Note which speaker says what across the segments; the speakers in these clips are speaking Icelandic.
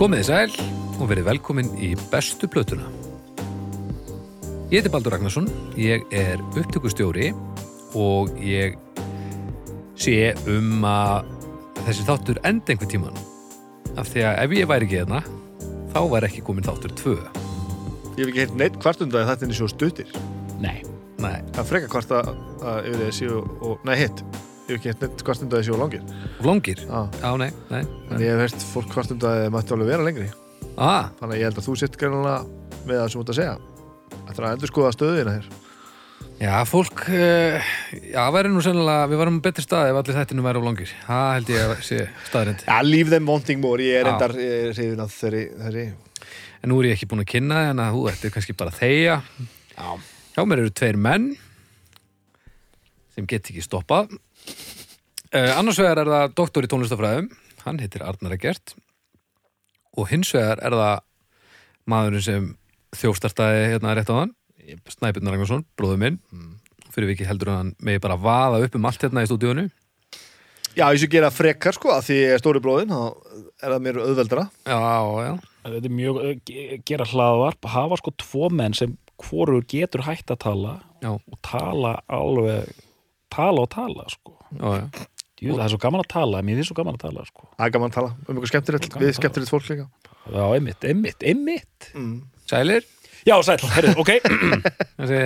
Speaker 1: Komið þið sæl og verið velkomin í bestu plötuna. Ég heiti Baldur Ragnarsson, ég er upptökustjóri og ég sé um að þessi þáttur enda einhver tíman. Af því að ef ég væri ekki hérna, þá væri ekki komin þáttur tvö.
Speaker 2: Ég hef ekki heilt neitt kvartunda um að þetta er svo stuttir.
Speaker 3: Nei,
Speaker 1: Nei,
Speaker 2: Það er frekar kvarta að yfir þeir séu og, nei hitt, ég hef ekki heilt neitt kvartunda um að þeir séu of langir.
Speaker 1: flóngir.
Speaker 2: Já.
Speaker 1: Á, nei, nei.
Speaker 2: En ég hef heilt fólk kvartunda að þeir mættu alveg vera lengri.
Speaker 1: Ah,
Speaker 2: Þannig að ég held að þú sitt greinlega með það sem þú ert að segja. Það er að endur skoða stöðina hér.
Speaker 1: Já, fólk, uh, já, væri nú sennilega, við varum á betri stað ef allir þættinu væri á langir. Það held ég að sé staðrind.
Speaker 2: Ja, leave them wanting more, ég
Speaker 1: er Já. reyndar,
Speaker 2: reyðin að þeirri, þeirri.
Speaker 1: En nú er ég ekki búin að kynna þig, þannig að þú ertu kannski bara að þegja. Já. Hjá mér eru tveir menn sem get ekki stoppað. Uh, annars vegar er það doktor í tónlistafræðum, hann heitir Arnar Egert. Og hins vegar er það maðurinn sem þjófstartaði hérna rétt á hann, Snæbjörn Ragnarsson, bróður minn. Fyrir vikið heldur hann megi bara vaða upp um allt hérna í stúdíónu.
Speaker 2: Já, ég sé gera frekar sko, að því ég er stóri bróðin, þá er það mér auðveldra.
Speaker 1: Já, já.
Speaker 3: þetta er mjög eh, ge- gera hlaðvarp, hafa sko tvo menn sem hvorur getur hægt að tala
Speaker 1: Já,
Speaker 3: og tala alveg tala og tala sko
Speaker 1: já, já.
Speaker 3: Jú, það er svo gaman að tala, mér finnst svo gaman að tala sko.
Speaker 2: Það er gaman að tala um eitthvað skemmtilegt,
Speaker 3: Gaman að
Speaker 2: við
Speaker 3: tala.
Speaker 2: skemmtilegt fólk líka.
Speaker 3: Já, einmitt, einmitt, einmitt
Speaker 2: Mm.
Speaker 1: Sælir?
Speaker 3: Já, sæll, herri, ok
Speaker 1: Þessi,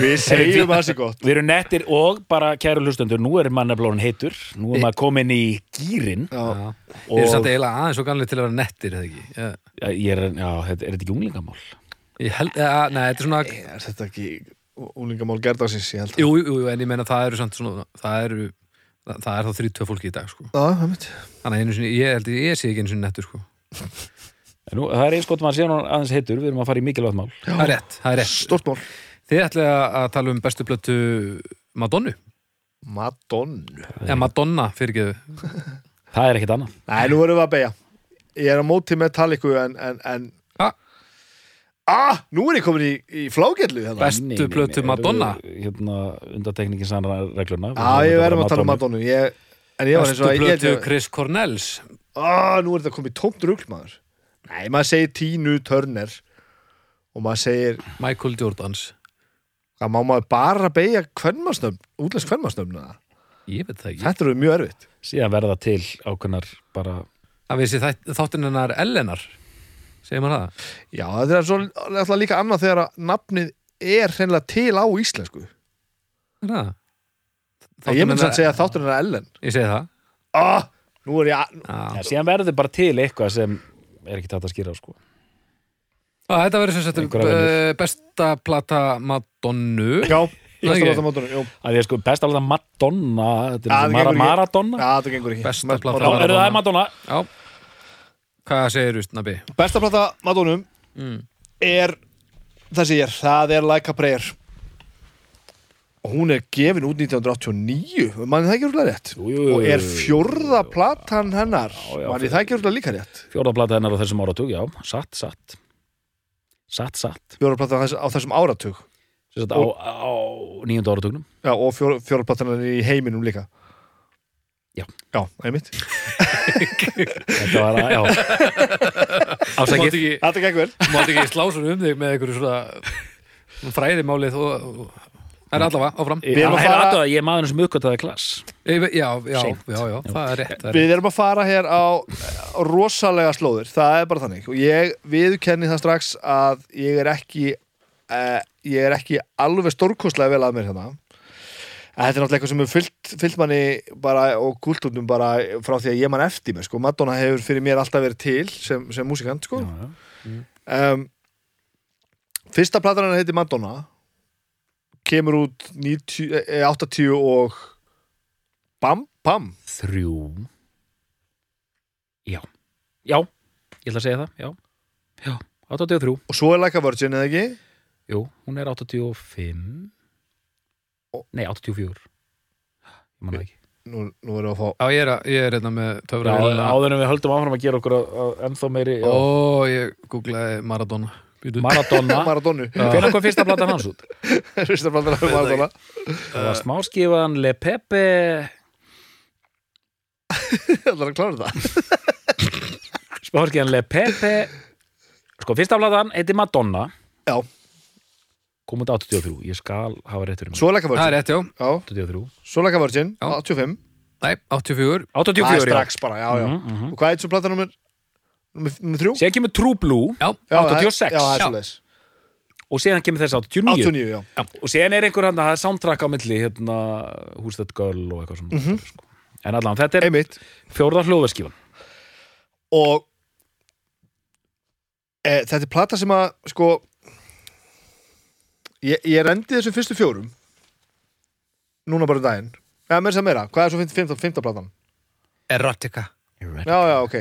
Speaker 2: Við segjum það sér gott.
Speaker 3: Við erum nettir og bara kæru hlustendur nú er mannablónin heitur, nú er maður komin í gýrin
Speaker 2: Já.
Speaker 1: já.
Speaker 3: Og-
Speaker 1: Þið eru samt eiginlega aðeins og ganlega til að vera nettir, eða ekki? Já,
Speaker 3: Já, ég er, já, þetta- er þetta ekki unglingamál?
Speaker 1: ég held, eða, nei, þetta er svona,
Speaker 2: Er þetta ekki úlingamál gerðarsins, ég held að.
Speaker 1: jú, jú, jú, en ég meina það eru samt svona, það eru, það, það er þá 32 fólki í dag, sko.
Speaker 2: Já, það mitt.
Speaker 1: Þannig að einu sinni, ég held, ég sé ekki einu sinni nettur, sko.
Speaker 3: En Nú, það er eins gott maður sé hann aðeins heitur, við erum að fara í mikilvægt mál
Speaker 1: Það er rétt, það er rétt.
Speaker 2: Stort mál.
Speaker 1: Þið ætlaði að tala um bestu blötu Madonnu,
Speaker 2: Madonna.
Speaker 1: eða Madonna, fyrirgeðu.
Speaker 3: Það er ekkit annað
Speaker 2: Nei, nú erum við að beja. Ég er á móti með taliku en, en, en...
Speaker 1: Ah.
Speaker 2: Ah, nú er ég komin í, í flágjallu hérna.
Speaker 1: Bestu
Speaker 3: Nei, nei, nei,
Speaker 1: plötu
Speaker 3: eru,
Speaker 1: Madonna?
Speaker 3: Hérna, undartekningin sannar regluna
Speaker 2: Já, ég verðum að tala um Madonna. Ég, en ég var eins
Speaker 1: Bestu
Speaker 2: og að...
Speaker 1: blötu
Speaker 2: ég,
Speaker 1: Chris Cornells.
Speaker 2: ah, nú er þetta komið tómt rugl, maður. Nei, maður segir tínu törner og maður segir
Speaker 1: Michael Jordans.
Speaker 2: að má maður bara beja kvennmarsnöfn, útlæst kvennmarsnöfn. eða?
Speaker 1: Ég veit það ekki.
Speaker 2: Þetta eru mjög erfitt.
Speaker 3: Síðan verða til ákveðnar bara
Speaker 1: Það vissi þáttinn hennar Elenar, segir maður það?
Speaker 2: Já, þetta er svo alltaf líka annað þegar að nafnið er hreinlega til á íslensku.
Speaker 1: Er það?
Speaker 2: Ég myndi
Speaker 1: hennar-
Speaker 2: samt segja þátturinn er Ellen.
Speaker 1: Ég segi það.
Speaker 2: Ah, nú er ég...
Speaker 1: Já.
Speaker 3: ja, Síðan verður bara til eitthvað sem er ekki tætt að skýra á, sko
Speaker 1: Já, þetta verður sem sagt
Speaker 3: Einhverjar
Speaker 1: eh, besta plata Madonnu
Speaker 2: Já,
Speaker 1: ekki.
Speaker 2: besta plata Madonna Jú.
Speaker 3: að Því að sko, best alveg Madonna Þetta er
Speaker 2: Ja,
Speaker 3: ja,
Speaker 2: það
Speaker 3: Mara,
Speaker 2: gengur ekki. Já,
Speaker 3: Maradonna
Speaker 2: þetta gengur ekki
Speaker 1: Besta
Speaker 2: Ma-
Speaker 1: plata
Speaker 3: Þá
Speaker 2: Madonna.
Speaker 3: eru það Madonna
Speaker 1: Já Hvað segir þú, Snabi?
Speaker 2: Besta plata Madonna
Speaker 3: Mm.
Speaker 2: er þessi ég, það er Like a Prayer og hún er gefin út 1989, mann það ekki rúlega rétt
Speaker 3: Jú, jú, jú,
Speaker 2: og er
Speaker 3: jú, jú.
Speaker 2: fjórða platan hennar
Speaker 3: já,
Speaker 2: mann það ekki rúlega líka rétt
Speaker 3: Fjórðaplata hennar á þessum áratug, já, satt, satt Satt, satt
Speaker 2: fjórða platan þess- á þessum áratug
Speaker 3: Sem sagt, á, á nýjönda áratugnum
Speaker 2: Já, og fjór, fjóra platan hennar í heiminum líka
Speaker 3: Já.
Speaker 2: Já, einmitt
Speaker 3: Þetta var að, já
Speaker 1: Þú mátt
Speaker 3: Ásækið
Speaker 1: ekki,
Speaker 2: Þetta gekk vel
Speaker 1: þú mátt ekki slá svona um þig með einhverju svona fræðimáli þó Það er allavega áfram
Speaker 3: Ég,
Speaker 2: Við erum að fara-
Speaker 3: að ég er maðurinn sem uppgötaði klass
Speaker 1: Ég ve- Já, já,
Speaker 3: Seint.
Speaker 1: já, já, það er rétt það er rétt.
Speaker 2: Við erum að fara hér á á rosalega slóðir, það er bara þannig og ég viðkenni það strax að ég er ekki eh, ég er ekki alveg stórkostlega vel að mér hérna En Þetta er náttúrulega eitthvað sem er fyllt, fyllt manni bara og kultúrnum bara frá því að ég mann eftir mig sko. Madonna hefur fyrir mér alltaf verið til sem, sem músikant sko.
Speaker 3: já.
Speaker 2: um, Fyrsta platan hennar heiti Madonna kemur út 90, eh, 80 og bam, bam
Speaker 3: Þrjú Já Já, ég ætla að segja það, já Já, 83,
Speaker 2: og svo er Like a Virgin eða ekki
Speaker 3: jú, hún er 85 Nei, 84 Ég man það ekki
Speaker 2: nú, nú erum við að fá
Speaker 1: Já, ég er, að- ég er hérna með
Speaker 3: Já,
Speaker 1: töfra
Speaker 3: áður en við höldum áfram að gera okkur að, að ennþá meiri já.
Speaker 1: Ó, ég googlaði Maradona Býtu.
Speaker 3: Maradona
Speaker 2: Maradonu
Speaker 3: Hvernig kom fyrsta platan hans út?
Speaker 2: Fyrsta platan af Maradona
Speaker 3: Það var smáskifan Le Pepe
Speaker 2: Það er að klára það
Speaker 3: Sko, hálfur ekki hann Le Pepe Sko, fyrsta aflaðan heiti Madonna
Speaker 2: Já,
Speaker 3: kom út 83, ég skal hafa réttur um
Speaker 2: svo leika
Speaker 1: Það er
Speaker 2: Virgin
Speaker 1: rétt, já.
Speaker 2: Já,
Speaker 3: 83
Speaker 2: svo leika Virgin,
Speaker 1: Já.
Speaker 2: 85
Speaker 1: Nei, 84.
Speaker 2: Það er
Speaker 3: 84, já
Speaker 2: strax bara, já, já
Speaker 3: Mhm, mhm.
Speaker 2: Og hvað er svo platan nummer, nummer, nummer þrjú?
Speaker 3: Sér kemur True Blue
Speaker 1: Já,
Speaker 2: Já, það-
Speaker 3: 86.
Speaker 2: Já, það er
Speaker 1: Já.
Speaker 2: svo leis
Speaker 3: og séðan kemur þess 89
Speaker 2: 89, já
Speaker 3: og séðan er einhver hann að það er soundtrack á milli hérna, Who's That Girl og eitthvað svona
Speaker 2: Mhm.
Speaker 3: sko. en allan, þetta er
Speaker 2: Einmitt
Speaker 3: fjórða hljóðverskífan
Speaker 2: Og e, Þetta er plata sem að, sko Ég, ég rendi þessum fyrstu fjórum Núna bara um daginn Já, mér sem meira, hvað er svo fimmta, fimmta, fimmta platan?
Speaker 1: Erotica.
Speaker 2: Já, já, ok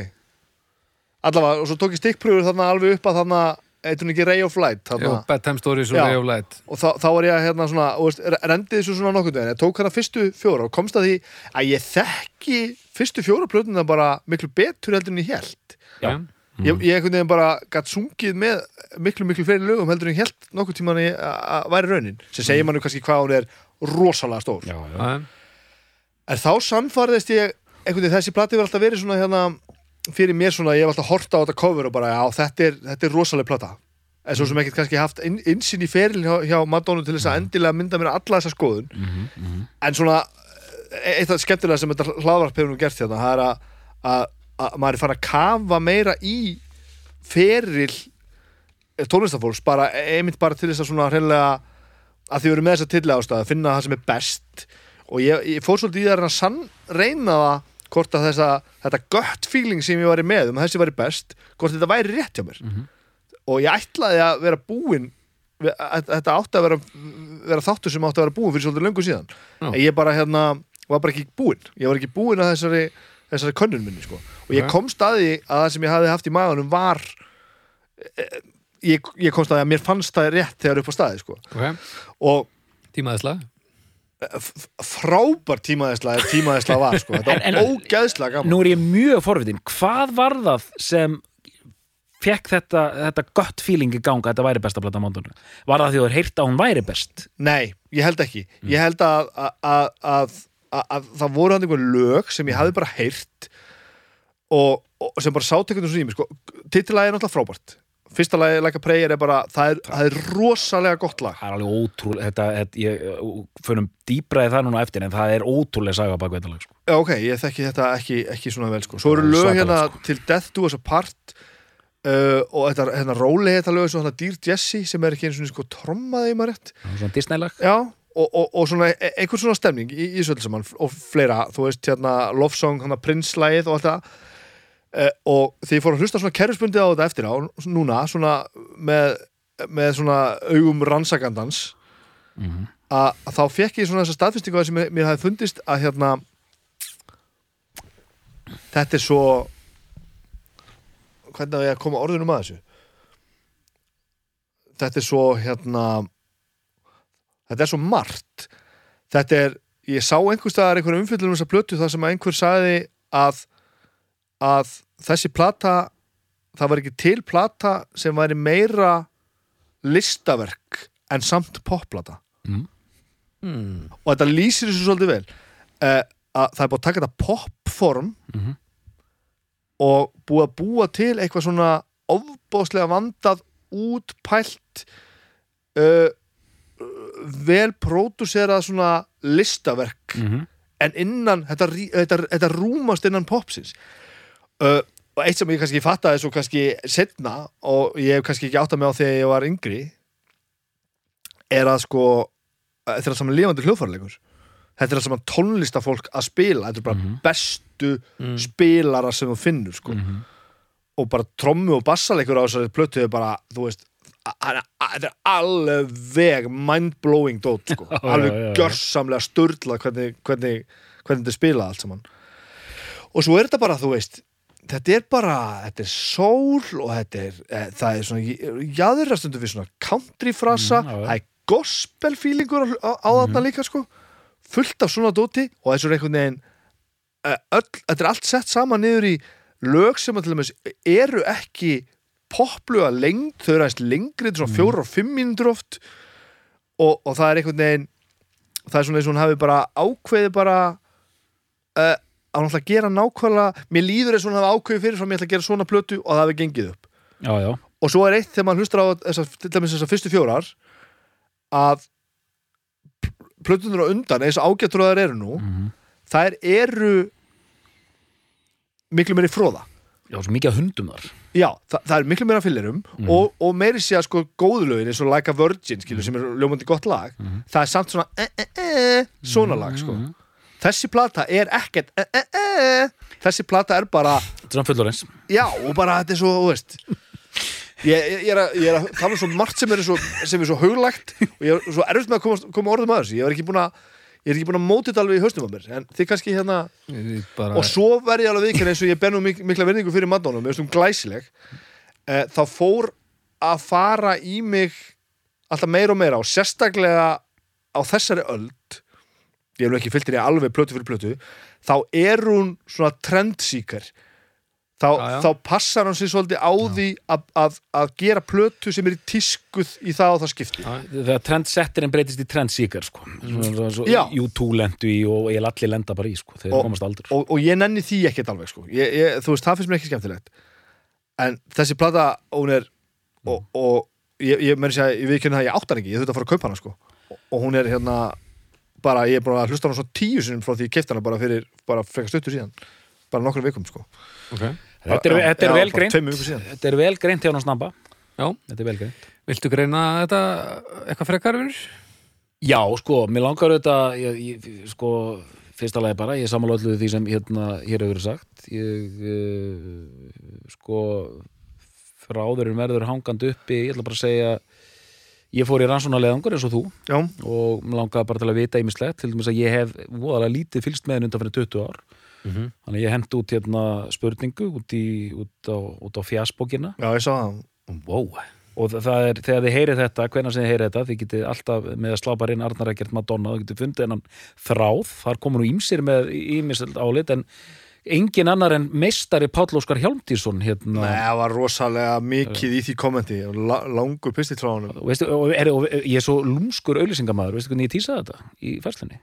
Speaker 2: Allavega, og svo tók ég stikkpröfur þarna alveg upp að þarna Eitir hún ekki Ray of Light
Speaker 1: Jú,
Speaker 2: þarna
Speaker 1: bedtime stories og
Speaker 2: Já.
Speaker 1: Ray of Light.
Speaker 2: og þá, þá var ég að, hérna svona og veist, re- rendi þessu svona nokkurn veginn ég tók hana fyrstu fjóra og komst að því að ég þekki fyrstu fjóra plötuna bara miklu betur heldur en ég held
Speaker 3: Já.
Speaker 2: ég, ég einhvern veginn bara gatt sungið með miklu miklu fleiri lögum heldur en ég held nokkur tíman ég að að væri raunin sem segir manni kannski hvað hún er rosalega stór
Speaker 3: já, já.
Speaker 1: Já.
Speaker 2: en þá samfarðist ég einhvern veginn þessi plati var alltaf verið svona hérna fyrir mér svona, ég hef alltaf horta á þetta cover og bara já, þetta er, þetta er rosalega plata en svo sem ekkert kannski haft inn, innsinn í ferilin hjá, hjá Madonna til þess að endilega mynda mér alla þessa skoðun en svona e- eitt af skemmtilega sem þetta hlaðvarp hefur nú gert hérna, það er að, að, að maður er farin að kafa meira í feril tónlistafólks, bara e, einmitt bara til þess að svona hreinlega að því við erum með þess að tilla ástæða, finna það sem er best og ég, ég fór svolítið í það að reyna að sann reyna það hvort að þessa, þetta gött feeling sem ég var með um að þessi væri best, hvort þetta væri rétt hjá mér
Speaker 1: Mhm.
Speaker 2: og ég ætlaði að vera búinn við- að- þetta átti að vera, vera þáttur sem átti að vera búinn fyrir svolítið löngu síðan
Speaker 1: Já.
Speaker 2: en ég bara hérna, var bara ekki búinn ég var ekki búinn að þessari, þessari könnun minni sko. og
Speaker 1: Ok.
Speaker 2: ég komst að því að það sem ég hafði haft í maðanum var eh, ég, ég komst að því að mér fannst það rétt þegar upp á staði sko.
Speaker 1: Ok,
Speaker 2: og
Speaker 1: tímaðisla.
Speaker 2: f- f- frábær tímaðisla ef tímaðisla var sko. þetta
Speaker 3: En-
Speaker 2: var
Speaker 3: en-
Speaker 2: ógeðslega gaman
Speaker 3: Nú er ég mjög forvitin, hvað var það sem fekk þetta, þetta gott feeling í gang að þetta væri besta plata mándunum? Var það því að þú er heyrt að hún væri best?
Speaker 2: Nei, ég held ekki
Speaker 3: Mm.
Speaker 2: Ég held að, að, að, að, að, að það voru hann einhver lög
Speaker 3: Mm.
Speaker 2: sem ég hafði bara heyrt og, og sem bara sátt einhvern veginn sko. Tittilagi er náttúrulega frábært Fyrsta lagi, Like a Prayer, er bara það er, það er rosalega gott lag
Speaker 3: Það er alveg ótrúlega, þetta, þetta ég fyrir dýbra í það núna á eftir en það er ótrúlega saga bak við þetta lag sko.
Speaker 2: Já, ok, ég þekki þetta ekki, ekki svona vel sko. Svo eru
Speaker 3: Það er
Speaker 2: lög
Speaker 3: svakalegt,
Speaker 2: hérna til Death Do Us Apart uh, og þetta, hérna róli þetta lög svo hérna Dear Jesse sem er ekki einu svona sko trommaði í maður rétt
Speaker 3: Það er Svona Disney-lag?
Speaker 2: Já, og, og, og svona e- einhvern svona stemning í, í þessu öllu saman og fleira, þú veist, hérna Love Song, hérna Prince-lægið og allt það e, og þegar ég fór að hlusta svona kerfisbundið á þetta eftir á, núna, svona með, með svona augum rannsakandans að að þá fekk ég svona þessa staðfestingu að sem mér, mér hafi fundist að hérna þetta er svo hvernig á ég að koma orðunum að þessu þetta er svo hérna þetta er svo margt þetta er, ég sá einhvers staðar einhverjum umfyllunum þessa plötu þar sem að einhver sagði að, að þessi plata það var ekki til plata sem væri meira listaverk en samt popplata
Speaker 1: Hmm.
Speaker 2: og þetta lýsir þessu svolítið vel uh, að það er búið að taka þetta popform
Speaker 3: Mhm.
Speaker 2: og búið að búa til eitthvað svona ofbóðslega vandað útpælt uh, vel pródúserað svona listaverk
Speaker 3: Mhm.
Speaker 2: en innan, þetta, rí- þetta, þetta rúmast innan popsins uh, og eitt sem ég kannski fattaði svo kannski setna og ég hef kannski ekki áttað mig á þegar ég var yngri er að sko uh, þetta er allt saman lifandi hljóðfæralegur þetta er allt saman tónlistafólk að spila þetta er bara
Speaker 3: Mhm.
Speaker 2: bestu spilara sem þú finnur sko
Speaker 3: Mhm.
Speaker 2: og bara trommu og bassalegur á þessari plötu er bara, þú veist a- a- a- þetta er alveg mind-blowing dót sko, alveg
Speaker 3: já, já.
Speaker 2: gjörsamlega sturla hvernig, hvernig, hvernig þetta er spilað allt saman og svo er þetta bara, þú veist þetta er bara, þetta er sól og þetta er, e, það er svona jáðurastundu við svona country frasa
Speaker 3: Mm, já, Mhm. já.
Speaker 2: það er gospel feelingur á, á, á þarna líka sko fullt af svona dóti og þessu er einhvern veginn e, öll, þetta er allt sett saman niður í lög sem að til dæmis eru ekki popluga lengd, þau eru aðeins lengri þetta
Speaker 3: Mm.
Speaker 2: er svona fjóra og fimm mínútur oft og, og það er einhvern veginn það er svona eins og hún hafi bara ákveði bara hann ætla að gera nákvæmlega mér líður eins og hann hafa ákveðið fyrir frá mér ætla að gera svona plötu og það hafi gengið upp
Speaker 3: já, já,
Speaker 2: og svo er eitt þegar maður hlustar á þessar, til dæmis þessar fyrstu fjórar að plötunur á undan eins og ágættur að þær eru nú þær eru miklu meiri fróða
Speaker 3: já, svo mikið að hundum þar
Speaker 2: Já, þa það er miklu meira fyllirum og, og meiri sé að sko góðu lögin eins og Like a Virgin, skilur, sem er ljómandi gott lag það er samt svona e -e -e, svona lag, sko þessi plata er ekkert e -e -e, þessi plata er bara
Speaker 3: Þetta er svona fullorins
Speaker 2: já, og bara þetta er svo, þú veist ég, ég, ég, er að, ég er að tala um svo margt sem er svo, sem er svo huglægt og ég er svo erfitt með að koma, koma orðum að þessu ég er ekki búin að Ég er ekki búin að móti þetta alveg í haustum á mér, en þið kannski hérna
Speaker 1: Ég bara,
Speaker 2: og svo verði ég alveg viðkjörn eins og ég bennu mik mikla verðingu fyrir Madonna mér finnst hún glæsileg eh, þá fór að fara í mig alltaf meira og meira og sérstaklega á þessari öld ég hef nú ekki fyllt í alveg plötu fyrir plötu þá er hún svona trendsíkar þá,
Speaker 1: Já, já.
Speaker 2: þá passar hún sér svolítið á því að, að, að gera plötu sem er í tískuð í það og það skipti
Speaker 3: Þegar trendsetterinn breytist í trendsíkar sko. Svo- svo- svo-
Speaker 2: Já.
Speaker 3: U2 lendu í og ég allir lenda bara í sko. þeir
Speaker 2: Og-
Speaker 3: komast aldur
Speaker 2: og, og ég nenni því ekkert alveg sko. ég, ég, þú veist, það finnst mér ekki skemmtilegt en þessi plata, hún er
Speaker 3: Mm.
Speaker 2: og, og ég, ég meni sér, ég viðkynna það að ég áttan ekki, ég þurfti að fara að kaupa hana sko. og, og hún er hérna bara, ég er búin að hlusta á hana svo tíu sinum frá því ég kefti hana bara fyrir, bara frekar stuttur síðan bara nokkrum vikum sko.
Speaker 1: okay.
Speaker 3: Þetta er,
Speaker 2: Já,
Speaker 3: þetta er
Speaker 2: já,
Speaker 3: vel
Speaker 2: bara
Speaker 3: greint
Speaker 2: tveimur vikum síðan.
Speaker 3: Þetta er vel greint hjá hann snabba
Speaker 1: Já,
Speaker 3: Þetta er vel greint
Speaker 1: viltu greina þetta eitthvað frekar fyrir?
Speaker 3: Já, sko, mér langar auðvitað ég, ég, sko, fyrsta lagi bara ég samála öllu því sem hérna hér hefur verið sagt ég uh, sko fráðurinn verður hangandi uppi ég ætla bara að segja ég fór í rannsónarleðangur eins og þú
Speaker 2: já,
Speaker 3: og mér langaði bara til að vita ýmislegt til dæmis að ég hef voðalega lítið fylgst með henni undan fyrir 20 ár
Speaker 1: Mhm.
Speaker 3: þannig að ég hendi út hérna spurningu út, í, út á, út á fjasbókina
Speaker 2: já, ég sá það
Speaker 1: Wow
Speaker 3: og þa- það er, þegar þið heyrið þetta, hvenær sem þið heyrið þetta þið getið alltaf með að slá bara inn Arnar Ekkert Madonna, þið getið fundið hennan þráð þar komur nú ímsir með ímiselt álit en engin annar en meistari Páll Óskar Hjálmtísson hérna
Speaker 2: Nei, það var rosalega mikið í því kommenti og la langur pistill frá honum
Speaker 3: Og Veistu, og, er, og ég er svo lúmskur auðlýsingamæður, veistu hvernig ég tísaði þetta í færslinni?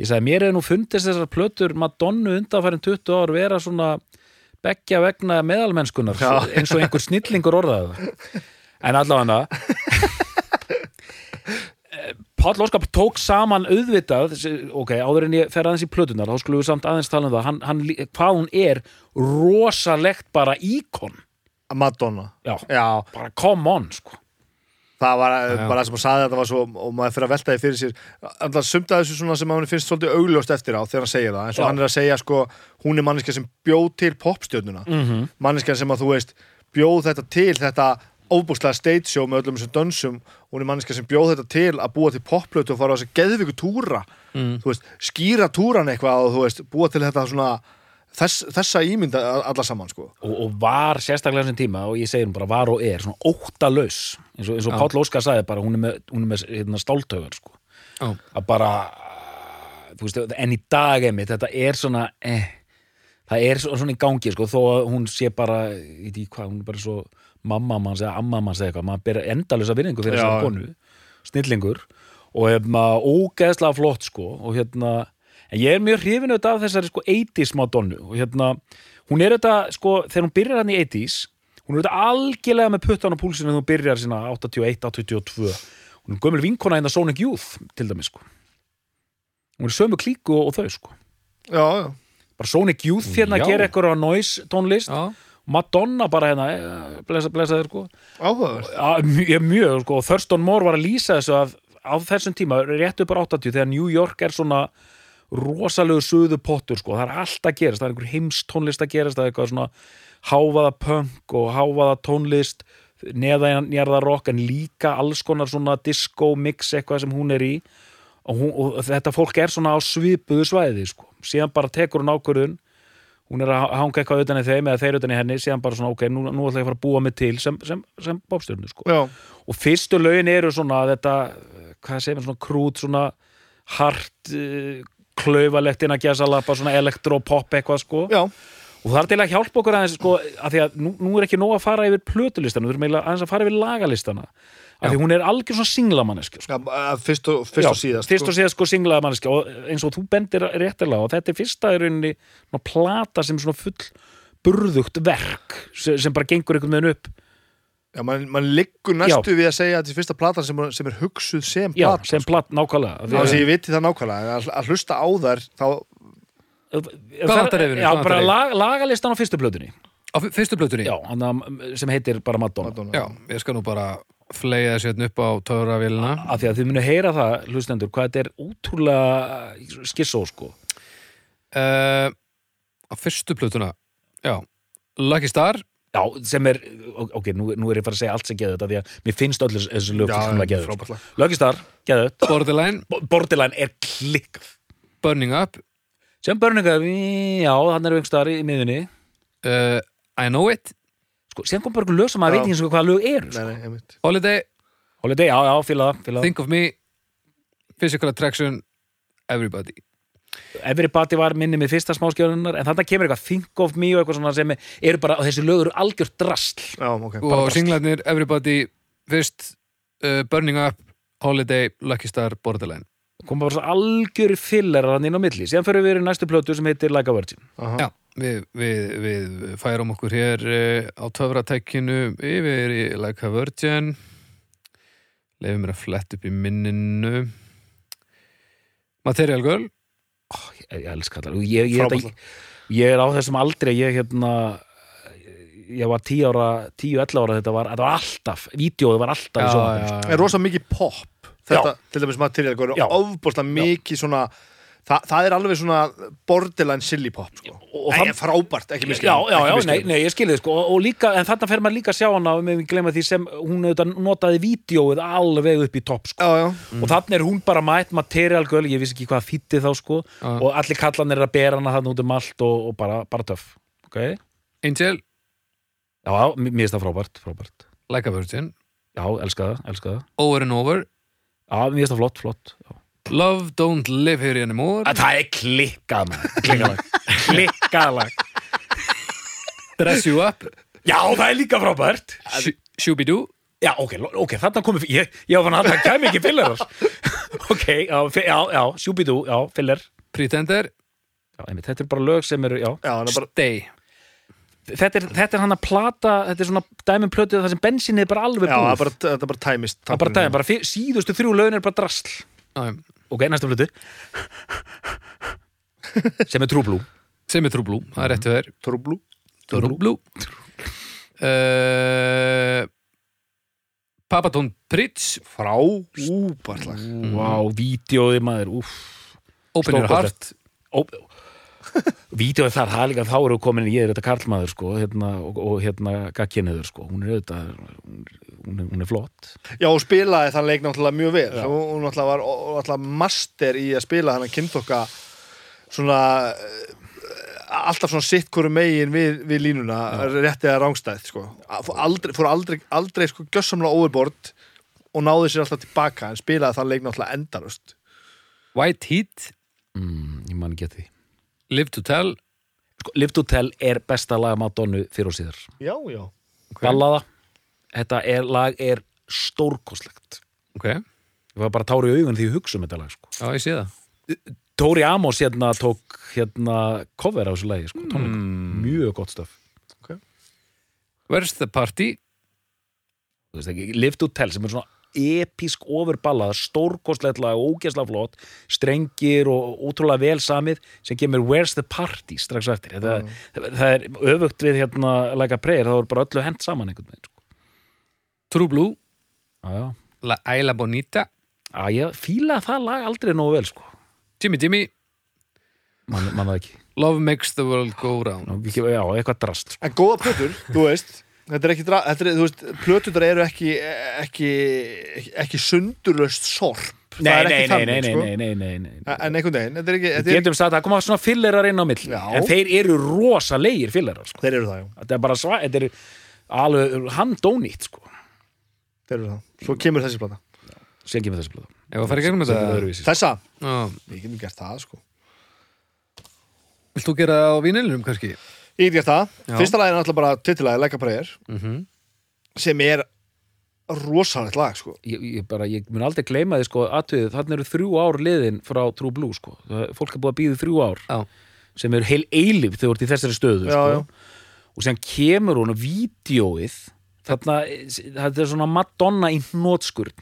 Speaker 3: Ég sagði, mér er nú fundist þessar plötur Madonnu undanfærin 20 ár vera svona beggja vegna meðalmennskunar
Speaker 2: Já.
Speaker 3: eins og einhver snillingur orðaði það en allavega hana Páll Óskar tók saman auðvitað þessi- ok, áður en ég fer aðeins í plötunar þá skulum við samt aðeins tala um það hann, hann, lí- hvað hún er rosalegt bara íkon
Speaker 2: Madonna,
Speaker 3: já,
Speaker 2: já,
Speaker 3: bara come on sko
Speaker 2: það var eh,
Speaker 1: já.
Speaker 2: bara það sem hún saði þetta var svo og maður fyrir að velta því fyrir sér alltaf sumta þessu svona sem hann finnst svolítið augljóst eftir á þegar hann segir það, eins og
Speaker 3: Já.
Speaker 2: hann er að segja sko, hún er manneska sem bjóð til popstjörnuna, mm
Speaker 3: Mhm.
Speaker 2: -hmm. manneska sem að þú veist bjóð þetta til, þetta óbúslega state show með öllum þessum dönsum hún er manneska sem bjóð þetta til að búa til popplötu og fara á þessi geðviku túra mm. veist, skýra túran eitthvað og þú veist, búa til þetta svona þess, þessa ímynda alla saman sko.
Speaker 3: og, og var sérstaklega þessum tíma og ég segir hún bara var og er svona óttalaus eins og, eins og Páll Óskar sagði bara hún er með, hún er með hérna, stáltögar sko.
Speaker 1: Já.
Speaker 3: að bara þú veist, en í dag einmitt þetta er svona eh, það er svo- svona í gangi sko, þó að hún sé bara ég veit í hvað, hún er bara svo mamma manns eða amma manns eða eitthvað maður ber endalösa virðingu fyrir
Speaker 2: Já,
Speaker 3: þessar
Speaker 2: já.
Speaker 3: konu snillingur og hefna, ógeðslega flott sko og hérna, en ég er mjög hrifin auðvitað af þessari sko 80s Madonnu og hérna, hún er auðvitað sko þegar hún byrjar hann í 80s hún er auðvitað algjörlega með puttan á púlsinu þegar hún byrjar sína 81, 82 hún er gömul vinkona hérna Sonic Youth til dæmis sko hún er í sömu klíku og, og þau sko
Speaker 2: já, já,
Speaker 3: bara Sonic Youth hérna
Speaker 1: Já.
Speaker 3: að gera eitthvað á noise tónlist
Speaker 1: Já,
Speaker 3: Madonna bara hérna, eh, blessa, blessa þér sko
Speaker 2: áhugaverð
Speaker 3: Já, mjög, mjög sko, og Thurston Moore var að lýsa þessu að á þessum tíma, rétt upp á 80 þegar New York er svona rosalegu suðu pottur, sko, það er allt að gerast það er einhver heimstónlist að gerast það er eitthvað svona háfaða punk og háfaða tónlist, neðanjarða rock en líka alls konar svona disco mix eitthvað sem hún er í og, hún, og þetta fólk er svona á svipuðu svæði, sko, síðan bara tekur hún ákvörðun hún er að hanga eitthvað utan í þeim eða þeir utan í henni, síðan bara svona ok, nú, nú ætla ég að fara að búa mig til sem, sem, sem bópstjörnu, sko
Speaker 2: já,
Speaker 3: og fyrstu lögin eru svona þetta, hvað segir maður, svona krút svona eh, hart uh, klaufalegt inn að gæsa lappa, svona elektropop eitthvað sko
Speaker 2: já,
Speaker 3: og það er til að hjálpa okkur aðeins sko, að því að nú, nú er ekki nóg að fara yfir plötulistana við erum eiginlega aðeins að fara yfir lagalistana af því hún er algjör svona singlamanneski sko.
Speaker 2: Já, að Fyrst og, fyrst og síðast
Speaker 3: fyrst
Speaker 2: sko.
Speaker 3: og síðast sko singlamanneski og eins og þú bendir réttilega og þetta er fyrsta í rauninni svona plata sem er svona full burðugt verk sem, sem bara gengur einhvern veginn upp
Speaker 2: Já, mann man liggur næstu við að segja að þetta er fyrsta platan sem, sem er hugsuð sem
Speaker 3: já,
Speaker 2: platan
Speaker 3: sem platt nákvæmlega
Speaker 2: Þá
Speaker 3: Af
Speaker 2: sem
Speaker 3: því
Speaker 2: ég viti það nákvæmlega að, að hlusta á þær þá,
Speaker 3: að-
Speaker 1: Hvað vantar yfir?
Speaker 3: Já,
Speaker 1: Hvað vantar
Speaker 3: bara
Speaker 1: yfir?
Speaker 3: lag, lagalistan á fyrstu plötunni
Speaker 1: Á f- fyrstu plötunni?
Speaker 3: já, hann að- sem heitir bara Madonna
Speaker 2: Madonna.
Speaker 1: Já, ég skal nú bara flega þessu hérna upp á töfravélina.
Speaker 3: af því að þið munu heyra það, hlustendur, hvað þetta er útrúlega skissó, sko
Speaker 1: Uh, á fyrstu plötuna, já. Lucky Star,
Speaker 3: Já, sem er, ok, nú, nú er ég fara að segja allt sem geðut, af því að mér finnst öll þessi- þessi lög
Speaker 2: Já,
Speaker 3: fullkomlega
Speaker 2: frábært lag.
Speaker 3: geðut. sko. Lögistar, geðut
Speaker 1: Borderline,
Speaker 3: Borderline er klikkað
Speaker 1: Burning Up,
Speaker 3: sem börninga, já, hann er einhverstaðar í miðunni,
Speaker 1: uh, I Know It,
Speaker 3: sko, sem kom bara einhver lög sem maður
Speaker 2: Já.
Speaker 3: veit ekki eins og hvaða lög
Speaker 2: nei,
Speaker 3: eru, sko
Speaker 2: nei, einmitt
Speaker 1: Holiday,
Speaker 3: Holiday, já, já, fíla það, fíla það
Speaker 1: Think of Me, Physical Attraction, Everybody.
Speaker 3: Everybody var minni með fyrsta smáskjöðunar en þannig kemur eitthvað Think of Me og eitthvað svona sem eru bara, þessi lög eru algjört drasl
Speaker 2: Já, ok
Speaker 1: Og singlarnir, Everybody, fyrst, uh, Burning Up, Holiday, Lucky Star, Borderline.
Speaker 3: koma bara svo algjör fillerar hann inn á milli síðan fyrir við í næstu plötu sem heitir Like a Virgin
Speaker 2: Aha.
Speaker 1: Já, við, við, við færum okkur hér uh, á töfratækinu yfir í Like a Virgin leifum mér að flett upp í minninu Material Girl
Speaker 3: ég, ég elska það og ég, ég,
Speaker 2: Frábært lag.
Speaker 3: ég, ég er á þessum aldrei ég hérna ég var 10 ára, 10-11 ára þetta var, þetta var alltaf, vídeóið var alltaf í sjónvarpinu, sko.
Speaker 2: er rosa mikið pop þetta,
Speaker 3: Já.
Speaker 2: til dæmis material góður,
Speaker 3: Já.
Speaker 2: ofbúrslega mikið svona Þa, það er alveg svona borderline silly pop sko. og,
Speaker 3: og
Speaker 2: það
Speaker 3: það-
Speaker 2: er frábært, ekki miskið
Speaker 3: Já, já, já, nei, nei, ég skilði sko og, og líka, en þarna fer maður líka að sjá hana og við glemma því sem hún auðvitað notaði vídeóið alveg upp í topp sko
Speaker 2: já, já.
Speaker 3: og þannig er hún bara mætt material girl, ég vissi ekki hvað þýtti þá sko
Speaker 1: Já.
Speaker 3: og allir kallan er að bera hana þannig út um allt og, og bara, bara töff okay?
Speaker 1: Angel,
Speaker 3: Já, já, mér mér finnst það frábært, frábært
Speaker 1: Like a Virgin
Speaker 3: Já, elska það, elska það
Speaker 1: Over and Over,
Speaker 3: Já, mér finnst það flott, flott já.
Speaker 1: Love Don't Live Here Anymore
Speaker 3: Að Það er klikkað maður. klikkað lag. klikkað lag.
Speaker 1: Dress You Up,
Speaker 3: Já, það er líka frábært
Speaker 1: Shoo- Shooby-Doo
Speaker 3: Já, ok, lo- ok, þarna komið Ég, ég var fann að það kæmi ekki filler Ok, já, fi- já, já, sjúbidú Já, filler
Speaker 1: Pretender,
Speaker 3: já, einmitt, Þetta er bara lög sem eru, já
Speaker 2: Já, hann er bara,
Speaker 1: Stay
Speaker 3: Þetta er, þetta er hann að plata, þetta er svona dæmum plötuð þar sem bensinið er bara alveg
Speaker 2: já, það
Speaker 3: búið
Speaker 2: er bara, það er bara tæmist
Speaker 3: Það er bara dæmum, bara fyr, síðustu þrjú lögin er bara drasl
Speaker 1: Já, já.
Speaker 3: Ok, næsta plötu Sem er trúblú
Speaker 1: sem er True Blue, það er réttu þær
Speaker 2: trúblú
Speaker 1: Mm-hmm. True Blue uh, Papa Don't Preach
Speaker 2: frábært lag
Speaker 3: Vá, vídeóði maður, úff
Speaker 1: Open Your
Speaker 3: Stórkostlegt.
Speaker 1: Heart
Speaker 3: Vídeóið þar, það er líka þá eru komin ég er þetta karlmaður sko hérna, og, og hérna gagkinniður sko hún er auðvitað, hún, hún, er- hún er flott
Speaker 2: já, og spilaði þann leik náttúrulega mjög vel Svo hún náttúrulega var og- og náttúrulega master í að spila hann að kynntokka svona eh, alltaf svona sitt hverju megin við, við línuna rétt eða rángstæð sko. fór aldrei, fór aldrei, aldrei sko gjössamlega overboard og náði sér alltaf tilbaka en spilaði þann leik náttúrulega endarust
Speaker 1: White Heat
Speaker 3: mm, ég man ekki að því
Speaker 1: Live to Tell
Speaker 3: sko, Lift Hotel er besta lag Madonnu fyrir og síðar
Speaker 2: já, já
Speaker 3: Ballada, þetta er, lag er stórkostlegt
Speaker 1: Ok, já,
Speaker 3: ég var bara að tára í augun því ég hugsa um þetta lag sko.
Speaker 1: ég sé það
Speaker 3: Tóri Amos hérna tók hérna cover á þessu lagi sko, mm. mjög gott stöf
Speaker 1: Where's the Party?
Speaker 3: Þú veist ekki, Lift Hotel sem er svona episk overballað, stórkostlega og ógeðslega flott, strengir og ótrúlega vel samið sem kemur Where's the Party strax eftir Þetta, það er öfugt við hérna like a prayer, þá er bara öllu hent saman einhvern veginn sko.
Speaker 1: True Blue
Speaker 3: Já, já,
Speaker 1: La Isla Bonita
Speaker 3: Á, ég fíla það lag aldrei nógu vel sko,
Speaker 1: Jimmy Jimmy
Speaker 3: Man- man það ekki
Speaker 1: Love Makes the World Go Round
Speaker 3: Já, já, eitthvað drast sko.
Speaker 2: en góða plötur, þú veist Þetta er ekki, dra- þetta er, þú veist, plötunar eru ekki, ekki, ekki, ekki sundurlaust sorp. Það
Speaker 3: nei,
Speaker 2: er ekki
Speaker 3: nei, nei,
Speaker 2: þannig,
Speaker 3: nei,
Speaker 2: sko.
Speaker 3: nei, nei, nei, nei, nei.
Speaker 2: En einhvern veginn, þetta er ekki, þetta er,
Speaker 3: Getum sagt að það koma svona fillerar inn á milli
Speaker 2: Já.
Speaker 3: en þeir eru rosalegir fillerar sko.
Speaker 2: þeir eru það, já.
Speaker 3: þetta er bara sva, þetta er alveg handónýtt sko,
Speaker 2: Þeir eru það. Svo kemur þessi plata.
Speaker 3: sem kemur þessi blöð
Speaker 1: Ef að fara í gegnum
Speaker 3: Þetta er
Speaker 1: þetta
Speaker 3: öðruvísi. sko.
Speaker 2: Þessa,
Speaker 1: Já.
Speaker 2: við getum gert það, sko.
Speaker 1: Vilt þú gera það á vínilinum kannski?
Speaker 2: Ég get gert það.
Speaker 1: Já.
Speaker 2: Fyrsta lagi er náttúrulega bara titilæði, Like a Prayer,
Speaker 1: Mhm.
Speaker 2: sem er rosalegt lag, sko.
Speaker 3: ég, ég, bara, ég mun aldrei gleyma því sko aðtöðu, þannig eru þrjú ár liðin frá True Blue sko, Það- fólk er búið að býða þrjú ár
Speaker 1: Já.
Speaker 3: sem eru heil eilif þegar þú ert í þessari stöðu
Speaker 2: Já,
Speaker 3: sko.
Speaker 2: já.
Speaker 3: og sem kemur hún á vídjóið þarna, þetta er svona Madonna í hnótskurn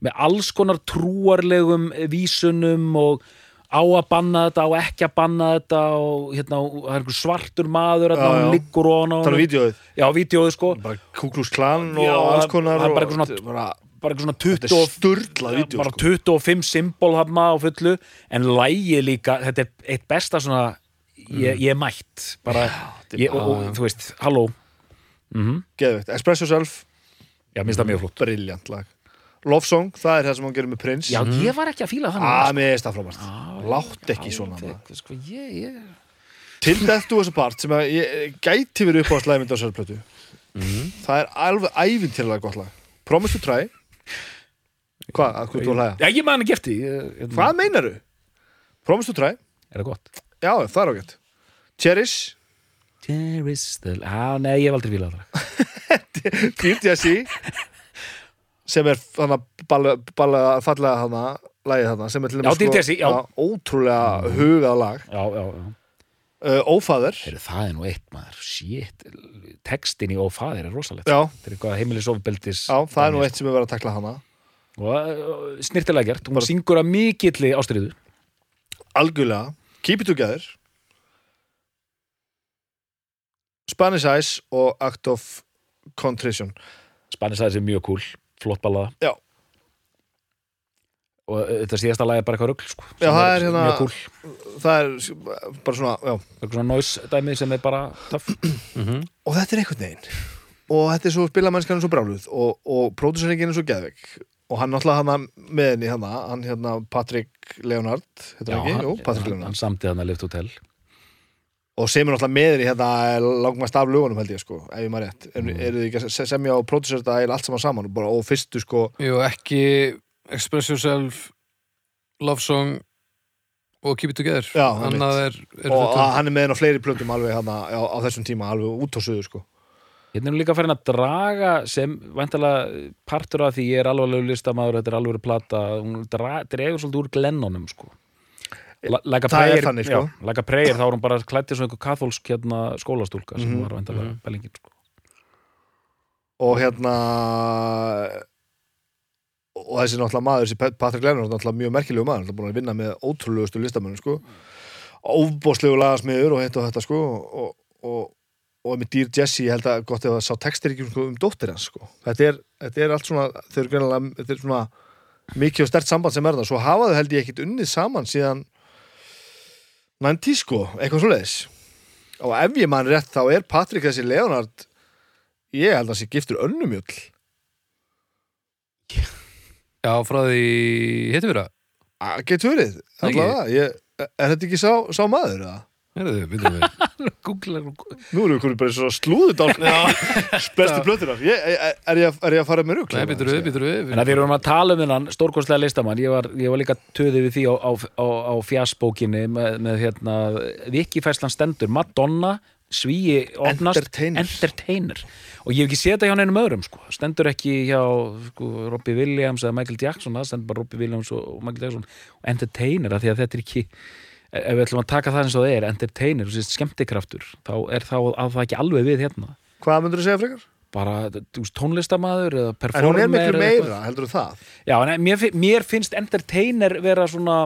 Speaker 3: með alls konar trúarlegum vísunum og á að banna þetta og ekki að banna þetta og hérna, og það er einhver svartur maður þarna,
Speaker 2: Já,
Speaker 3: og hún
Speaker 2: já. um
Speaker 3: liggur ofan á
Speaker 2: Það er
Speaker 3: honum.
Speaker 2: vídeoið.
Speaker 3: Já, vídjóið sko
Speaker 2: Bara Kuklus Klan og
Speaker 3: Já,
Speaker 2: alls
Speaker 3: það-
Speaker 2: konar.
Speaker 3: það er bara
Speaker 2: og-
Speaker 3: eitthvað svona-
Speaker 2: þetta er bara-
Speaker 3: bara eitthvað svona
Speaker 2: Þetta er
Speaker 3: 20
Speaker 2: sturlað
Speaker 3: Já,
Speaker 2: vídeo,
Speaker 3: bara
Speaker 2: sko.
Speaker 3: 25 symbol hafna á fullu en lægi líka, þetta er eitt besta svona,
Speaker 2: Mm.
Speaker 3: ég, ég er mætt bara,
Speaker 2: þetta er
Speaker 3: ég, og, og, þú veist, halló
Speaker 2: Geðveikt. Express Yourself,
Speaker 3: já, minnst það mjög flott
Speaker 2: briljant lag. Love Song, það er það sem hann gerir með Prince.
Speaker 3: já, Ah, ég var ekki að fíla þannig
Speaker 2: Mhm. Ah, mér er það frábært. Látt ekki svona. maður.
Speaker 3: sko, ég, ég...
Speaker 2: Til Death Do Us Apart sem að ég, eh, gæti verið upp á slæði mynd á þessari plötu
Speaker 3: Mhm.
Speaker 2: Það er alveg ævintýrlega gott lag Promise to Try Hvað, að hvað þú að hlæja?
Speaker 3: já, ég man ekki eftir ég, ég,
Speaker 2: Hvað meinaru? Promise to Try,
Speaker 3: er það gott?
Speaker 2: já það er ágætt Cherish,
Speaker 3: there is the, ah, nei, ég hef aldrei fílað það
Speaker 2: Dear Jesse sem er þannig að ballega fallega hana lagið þarna sem er til sko
Speaker 3: Já, Dear Jessie, já.
Speaker 2: ótrúlega hugað lag
Speaker 3: já, já, já
Speaker 2: uh, Ófæður,
Speaker 3: Heru, það er nú eitt maður, shit textin í ófæðir er rosalegt
Speaker 2: já,
Speaker 3: þetta er eitthvað heimilisofbeldis
Speaker 2: já, það er nú eitt sem er verið að takla hana
Speaker 3: og snirtilega gert, hún syngur að mikilli ástriðu
Speaker 2: algjörlega Keep It Together Spanish Eyes og Act of Contrition
Speaker 3: Spanish Eyes er mjög cool, flott ballaða
Speaker 2: Já.
Speaker 3: og uh, þetta síðasta lag er bara eitthvað rugl sko, sem
Speaker 2: Já, það er hérna-
Speaker 3: mjög cool,
Speaker 2: það er s- bara svona já.
Speaker 3: eitthvað svona noise dæmi sem er bara töff
Speaker 2: og þetta er einhvern veginn og þetta er svo spilamennskan er svo bráluð og, og pródúseringin er svo geðvik og hann náttúrulega hann með henni hann hann hérna Patrick Leonard heitir hann ekki, jú, Patrick
Speaker 3: hann,
Speaker 2: Leonard
Speaker 3: hann samti hann að Lift Hotel
Speaker 2: og semur náttúrulega með henni hérna langmast af lögunum held ég sko, ef ég maður rétt mm. eru þið ekki að se- semja og pródúsera þetta eiginlega allt saman saman og, bara, og fyrstu sko
Speaker 1: Jú, ekki Express Yourself Love Song og Keep It Together
Speaker 2: Já,
Speaker 1: annað er, er
Speaker 2: og
Speaker 1: þetta
Speaker 2: hann er með henni á fleiri plötum alveg hann á, á þessum tíma alveg út á suðu sko
Speaker 3: hérna er hún líka farin að draga sem væntalega partur af því ég er alvarlegu listamaður, þetta er alveg plata hún dra, dregur svolítið úr glennunum sko La- Like a
Speaker 2: Eh, Það er
Speaker 3: prayer,
Speaker 2: þannig, sko.
Speaker 3: já, like a prayer þá er hún bara klættið svona einhver katholsk hérna skólastúlka sem
Speaker 2: Mhm,
Speaker 3: var væntalega mm bælingin sko.
Speaker 2: og hérna og þessi náttúrulega maður þessi Pat- Patrick Lennon er náttúrulega mjög merkilegu maður hann er búin að vinna með ótrúlegustu listamönnum sko óbóðslegu lagasmiður og hitt og þetta sko og, og, og með dýr Jesse ég held að gott ef það sá textir ekki um, sko, um dóttir hans sko þetta er, þetta er allt svona þau eru greinlega þetta er svona mikið og stert samband sem er það svo hafa þau held ég ekkit unnið saman síðan 90 sko eitthvað svoleiðis og ef ég mann rétt þá er Patrick þessi Leonard Ég held að það sé giftur önnumjöll
Speaker 1: Já, frá því hittum við það
Speaker 2: Ah, Getur verið,
Speaker 1: Það ekki?
Speaker 2: allavega ég, Er þetta ekki sá, sá maður eða?
Speaker 1: Herðu, byrjum við
Speaker 3: Google,
Speaker 2: Nú erum við komið bara svo slúðut á Bestu plötunar ég, er, er, ég, að- er ég að fara með rugl?
Speaker 1: Nei, byrjum við, byrjum við
Speaker 3: En að því erum að tala um hennan stórkostlega listamann ég var, ég var líka töðið við því á, á, á, á fjasbókinni með, með hérna, vikifæslan stendur Madonna, svíi opnast,
Speaker 2: Entertainers.
Speaker 3: entertainer og ég hef ekki séð þetta hjá neinum öðrum sko. stendur ekki hjá sko, Robbie Williams eða Michael Jackson, það stendur bara Robbie Williams og, og Michael Jackson og entertainer af því að þetta er ekki e, ef við ætlum að taka það eins og það er, entertainer og sérst skemmtikraftur, þá er þá að það ekki alveg við hérna
Speaker 2: Hvað myndur þú segja frekar?
Speaker 3: bara þú veist, tónlistamaður eða
Speaker 2: En hún
Speaker 3: performer
Speaker 2: er miklu
Speaker 3: eða eitthvað.
Speaker 2: meira, heldur þú það?
Speaker 3: Já, en mér, fi- mér finnst entertainer vera svona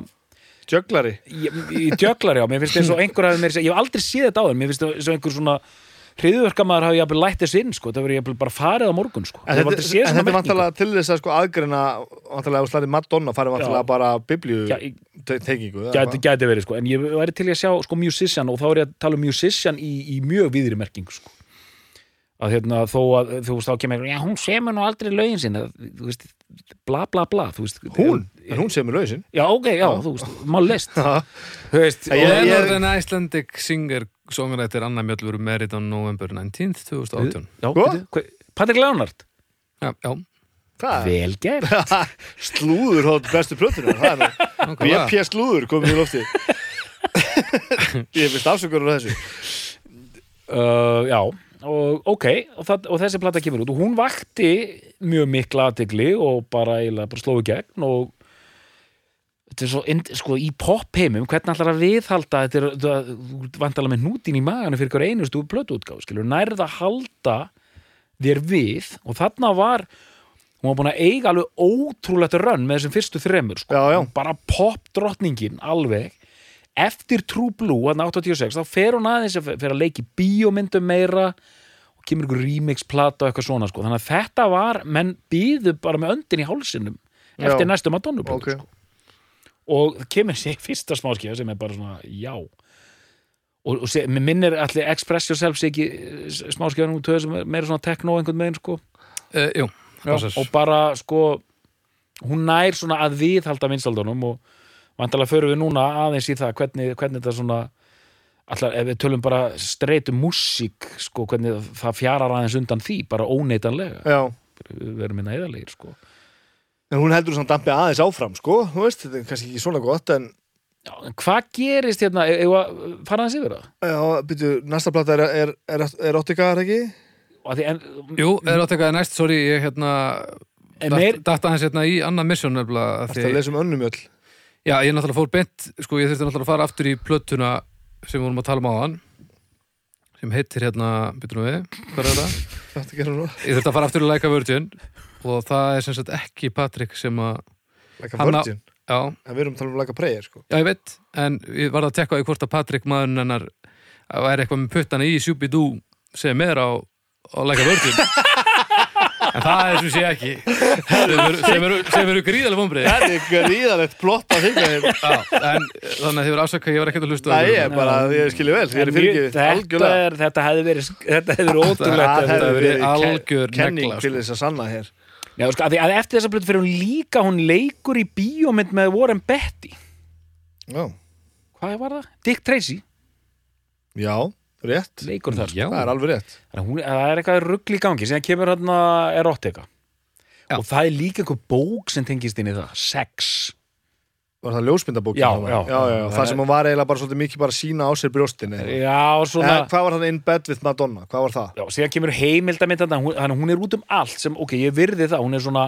Speaker 2: Jöglari
Speaker 3: í í djöglar, já, mér finnst eins og einhver hafi mér ég hef aldrei séð þetta á þeim, mér finnst eins og einhver svona hriðverkamaður hafi jafnvel lætt þess inn, sko, það verið jafnvel bara farið á morgun,
Speaker 2: En
Speaker 3: sko, ég hef
Speaker 2: þetta,
Speaker 3: aldrei séð
Speaker 2: en þetta
Speaker 3: svona
Speaker 2: er
Speaker 3: merkingu.
Speaker 2: vantalega til þess að sko aðgreina vantalega að slæði Madonna farið vantalega
Speaker 3: Já.
Speaker 2: bara biblíu
Speaker 3: Já, ég-
Speaker 2: te- tengingu eða
Speaker 3: Gæti,
Speaker 2: hvað?
Speaker 3: gæti verið, sko, en ég væri til í að sjá sko musician og þá er ég að tala um musician í, í mjög viðri merkingu, sko að hérna, þó að, þú veist, þá kemur einhver, já, hún semur nú aldrei lögin sinna þú veist, bla bla bla, þú veist
Speaker 2: Hún, en hún segir mér lausin
Speaker 3: já, ok, já, þú veist, maður list þú veist,
Speaker 2: Ég-
Speaker 1: Leonard
Speaker 2: ég-
Speaker 1: and Icelandic Singer songrættir Anna Mjöll voru merit á november 19th 2018
Speaker 3: Já,
Speaker 2: Sko?
Speaker 3: veitu, hva- Patrik Leonard
Speaker 1: Já, já,
Speaker 3: Vel gert
Speaker 2: Slúður hótt bestu plötunar Það er nú
Speaker 1: nákvæmlega.
Speaker 2: VP slúður komið í lofti Ég finnst afsökunar á þessu
Speaker 3: uh, já og ok, og, það, og þessi plata kemur út og hún vakti mjög mikla aðtegli og bara eiginlega bara sló í gegn og þetta er svo, ind, sko, í popheimum hvernig ætlar að viðhalda þetta er, þetta er vandalega með nútin í maganu fyrir hver einustu blötuútgáf, skilur, nærða halda þér við og þarna var hún var búin að eiga alveg ótrúlegt rönn með þessum fyrstu þremur, sko,
Speaker 2: Já, já.
Speaker 3: bara popdrottningin alveg eftir True Blue, hann 86 þá fer hún aðeins að fer að leiki bíómyndum meira og kemur ykkur remixplata og eitthvað svona, sko, þannig að þetta var menn býðu bara með öndin í hálsinum eftir
Speaker 2: Já.
Speaker 3: næstu Madonna
Speaker 2: Ok.
Speaker 3: sko og það kemur sér fyrsta smáskíða sem er bara svona já og, og sé, mér minnir allir Express Yourself sé ekki smáskíða nú töð sem er meira svona techno einhvern megin sko
Speaker 1: Uh, jú, passar.
Speaker 3: og bara sko hún nær svona að viðhalda vinstaldunum og vandalega förum við núna aðeins í það hvernig, hvernig þetta svona allar, ef við tölum bara streitu músík sko, hvernig það fjarar aðeins undan því bara óneitanlega,
Speaker 2: já
Speaker 3: við verum minna eðalegir sko
Speaker 2: En hún heldur samt dampi aðeins áfram, sko, þú veist, þetta er kannski ekki svona gott, en
Speaker 3: já, en hvað gerist hérna, ef að fara aðeins yfir það?
Speaker 2: já, byrju, næsta plata er, er, er, er óttika, er ekki?
Speaker 3: Af Því, en,
Speaker 1: Jú, er átt eitthvað næst, sorry, ég hérna
Speaker 3: En meir,
Speaker 1: datta hans hérna í annað mission nefnilega af
Speaker 2: Þetta
Speaker 1: því,
Speaker 2: er lesum um önnum öll.
Speaker 1: já, ég náttúrulega fór beint sko, ég þurfti náttúrulega að fara aftur í plötuna sem við vorum að tala um áðan sem heitir hérna, byrjum við hvað er það?
Speaker 2: Þetta gerum nú.
Speaker 1: Ég þurfti að fara aftur í Like a Virgin og það er sem sagt ekki Patrick sem að
Speaker 2: Like a
Speaker 1: Hann á-
Speaker 2: Virgin.
Speaker 1: já,
Speaker 2: En við erum að tala um like a prayer, sko.
Speaker 1: Já, ég veit, en ég varð að tekka í hvort að Patrik maðurinn hennar væri eitthvað með puttana í Sjúbidú sem er á, á Læka Vörgin en það er sem sé ekki sem eru, sem eru, sem eru gríðalega vombrið
Speaker 2: Þetta er gríðalegt plott að þykja þér.
Speaker 1: en þannig að þið voru afsaka ég var ekkert að hlusta á
Speaker 2: Nei,
Speaker 1: ykkur.
Speaker 2: ég er bara, ég skilja vel, ég er
Speaker 3: en
Speaker 2: fyrir
Speaker 3: mjög- þetta,
Speaker 2: algjörlega.
Speaker 3: er, þetta hefði verið þetta hefði verið
Speaker 1: þetta
Speaker 3: ótrúlegt
Speaker 1: hefði
Speaker 3: hefði.
Speaker 1: verið algjör
Speaker 2: ke- kenning
Speaker 1: negla, sko.
Speaker 2: til þess að sanna hér.
Speaker 3: Já, sko, að því, að eftir þessa blötu fyrir hún líka hún leikur í bíómynd með Warren Betty
Speaker 2: Já,
Speaker 3: hvað var það? Dick Tracy
Speaker 2: já, rétt.
Speaker 3: leikur þar sko.
Speaker 1: Já,
Speaker 2: Það er alveg rétt.
Speaker 3: Þannig að hún, að það er eitthvað ruggl í gangi sem kemur hann að erotika
Speaker 1: Já.
Speaker 3: og það er líka einhver bók sem tengist inn í það sex
Speaker 2: Var það ljósmyndabókin?
Speaker 3: Já,
Speaker 2: það var?
Speaker 3: já.
Speaker 2: já, já.
Speaker 3: Það
Speaker 2: Það
Speaker 3: er-
Speaker 2: sem hún var eiginlega bara svolítið mikið bara að sína á sér brjóstinni.
Speaker 3: já, og svona
Speaker 2: Eh, Hvað var það in bed with Madonna? Hvað var það?
Speaker 3: já, síðan kemur heimildamind þannig að hún er út um allt sem, ok, ég virði það hún er svona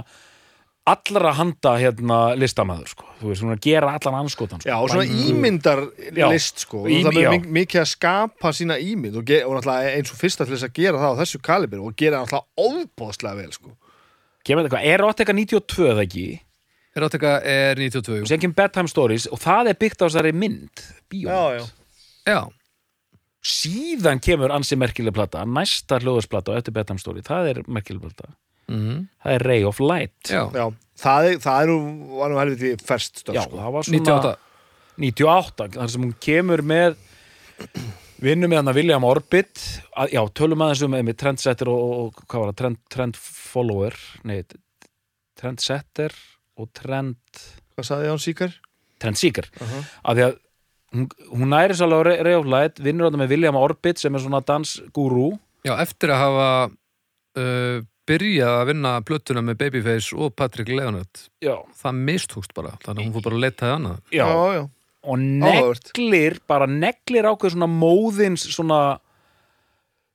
Speaker 3: allra handa hérna listamæður, sko þú veist, hún er að gera allan anskotan sko.
Speaker 2: Já, og svona ímyndar list sko
Speaker 3: Ím-
Speaker 2: Það er
Speaker 3: já.
Speaker 2: mik- mikið að skapa sína ímynd og, ge- og náttúrulega eins og fyrsta til þess að gera það á þessu kalibir og gera það náttúrulega óbóðslega vel sko
Speaker 3: kemur þetta eitthvað, erotika 92 eða ekki
Speaker 1: er átt eitthvað er 92
Speaker 3: og síðan kemur bedtime stories og það er byggt á þessari mynd bíómynd,
Speaker 1: Já,
Speaker 3: síðan kemur ansi merkileg plata, næsta hljóðusplata og eftir bedtime story, það er merkileg plata
Speaker 1: Mhm.
Speaker 3: það er Ray of Light
Speaker 1: já,
Speaker 2: Já, það er, það er nú, var nú helviti ferst stöf
Speaker 3: Já,
Speaker 2: sko
Speaker 3: það var svona
Speaker 1: 98
Speaker 3: 98 þar sem hún kemur með vinnum með hann að William Orbit að, já, tölum aðeins um með trendsetter og, og hvað var það, trend, trend follower nei, trendsetter og trend
Speaker 2: Hvað sagði Jón Sýkar?
Speaker 3: trendsíkar uh -huh. að því að hún, hún næri svo alveg reyflætt, vinnur hann með William Orbit sem er svona dansgúrú
Speaker 1: Já, eftir að hafa uh, byrjað að vinna plötuna með Babyface og Patrik Leonard
Speaker 3: já,
Speaker 1: það mistókst bara, þannig að hún fór bara að leitaði annað
Speaker 3: já,
Speaker 2: já, já.
Speaker 3: og
Speaker 2: Áhugavert.
Speaker 3: neglir bara neglir ákveð svona móðins svona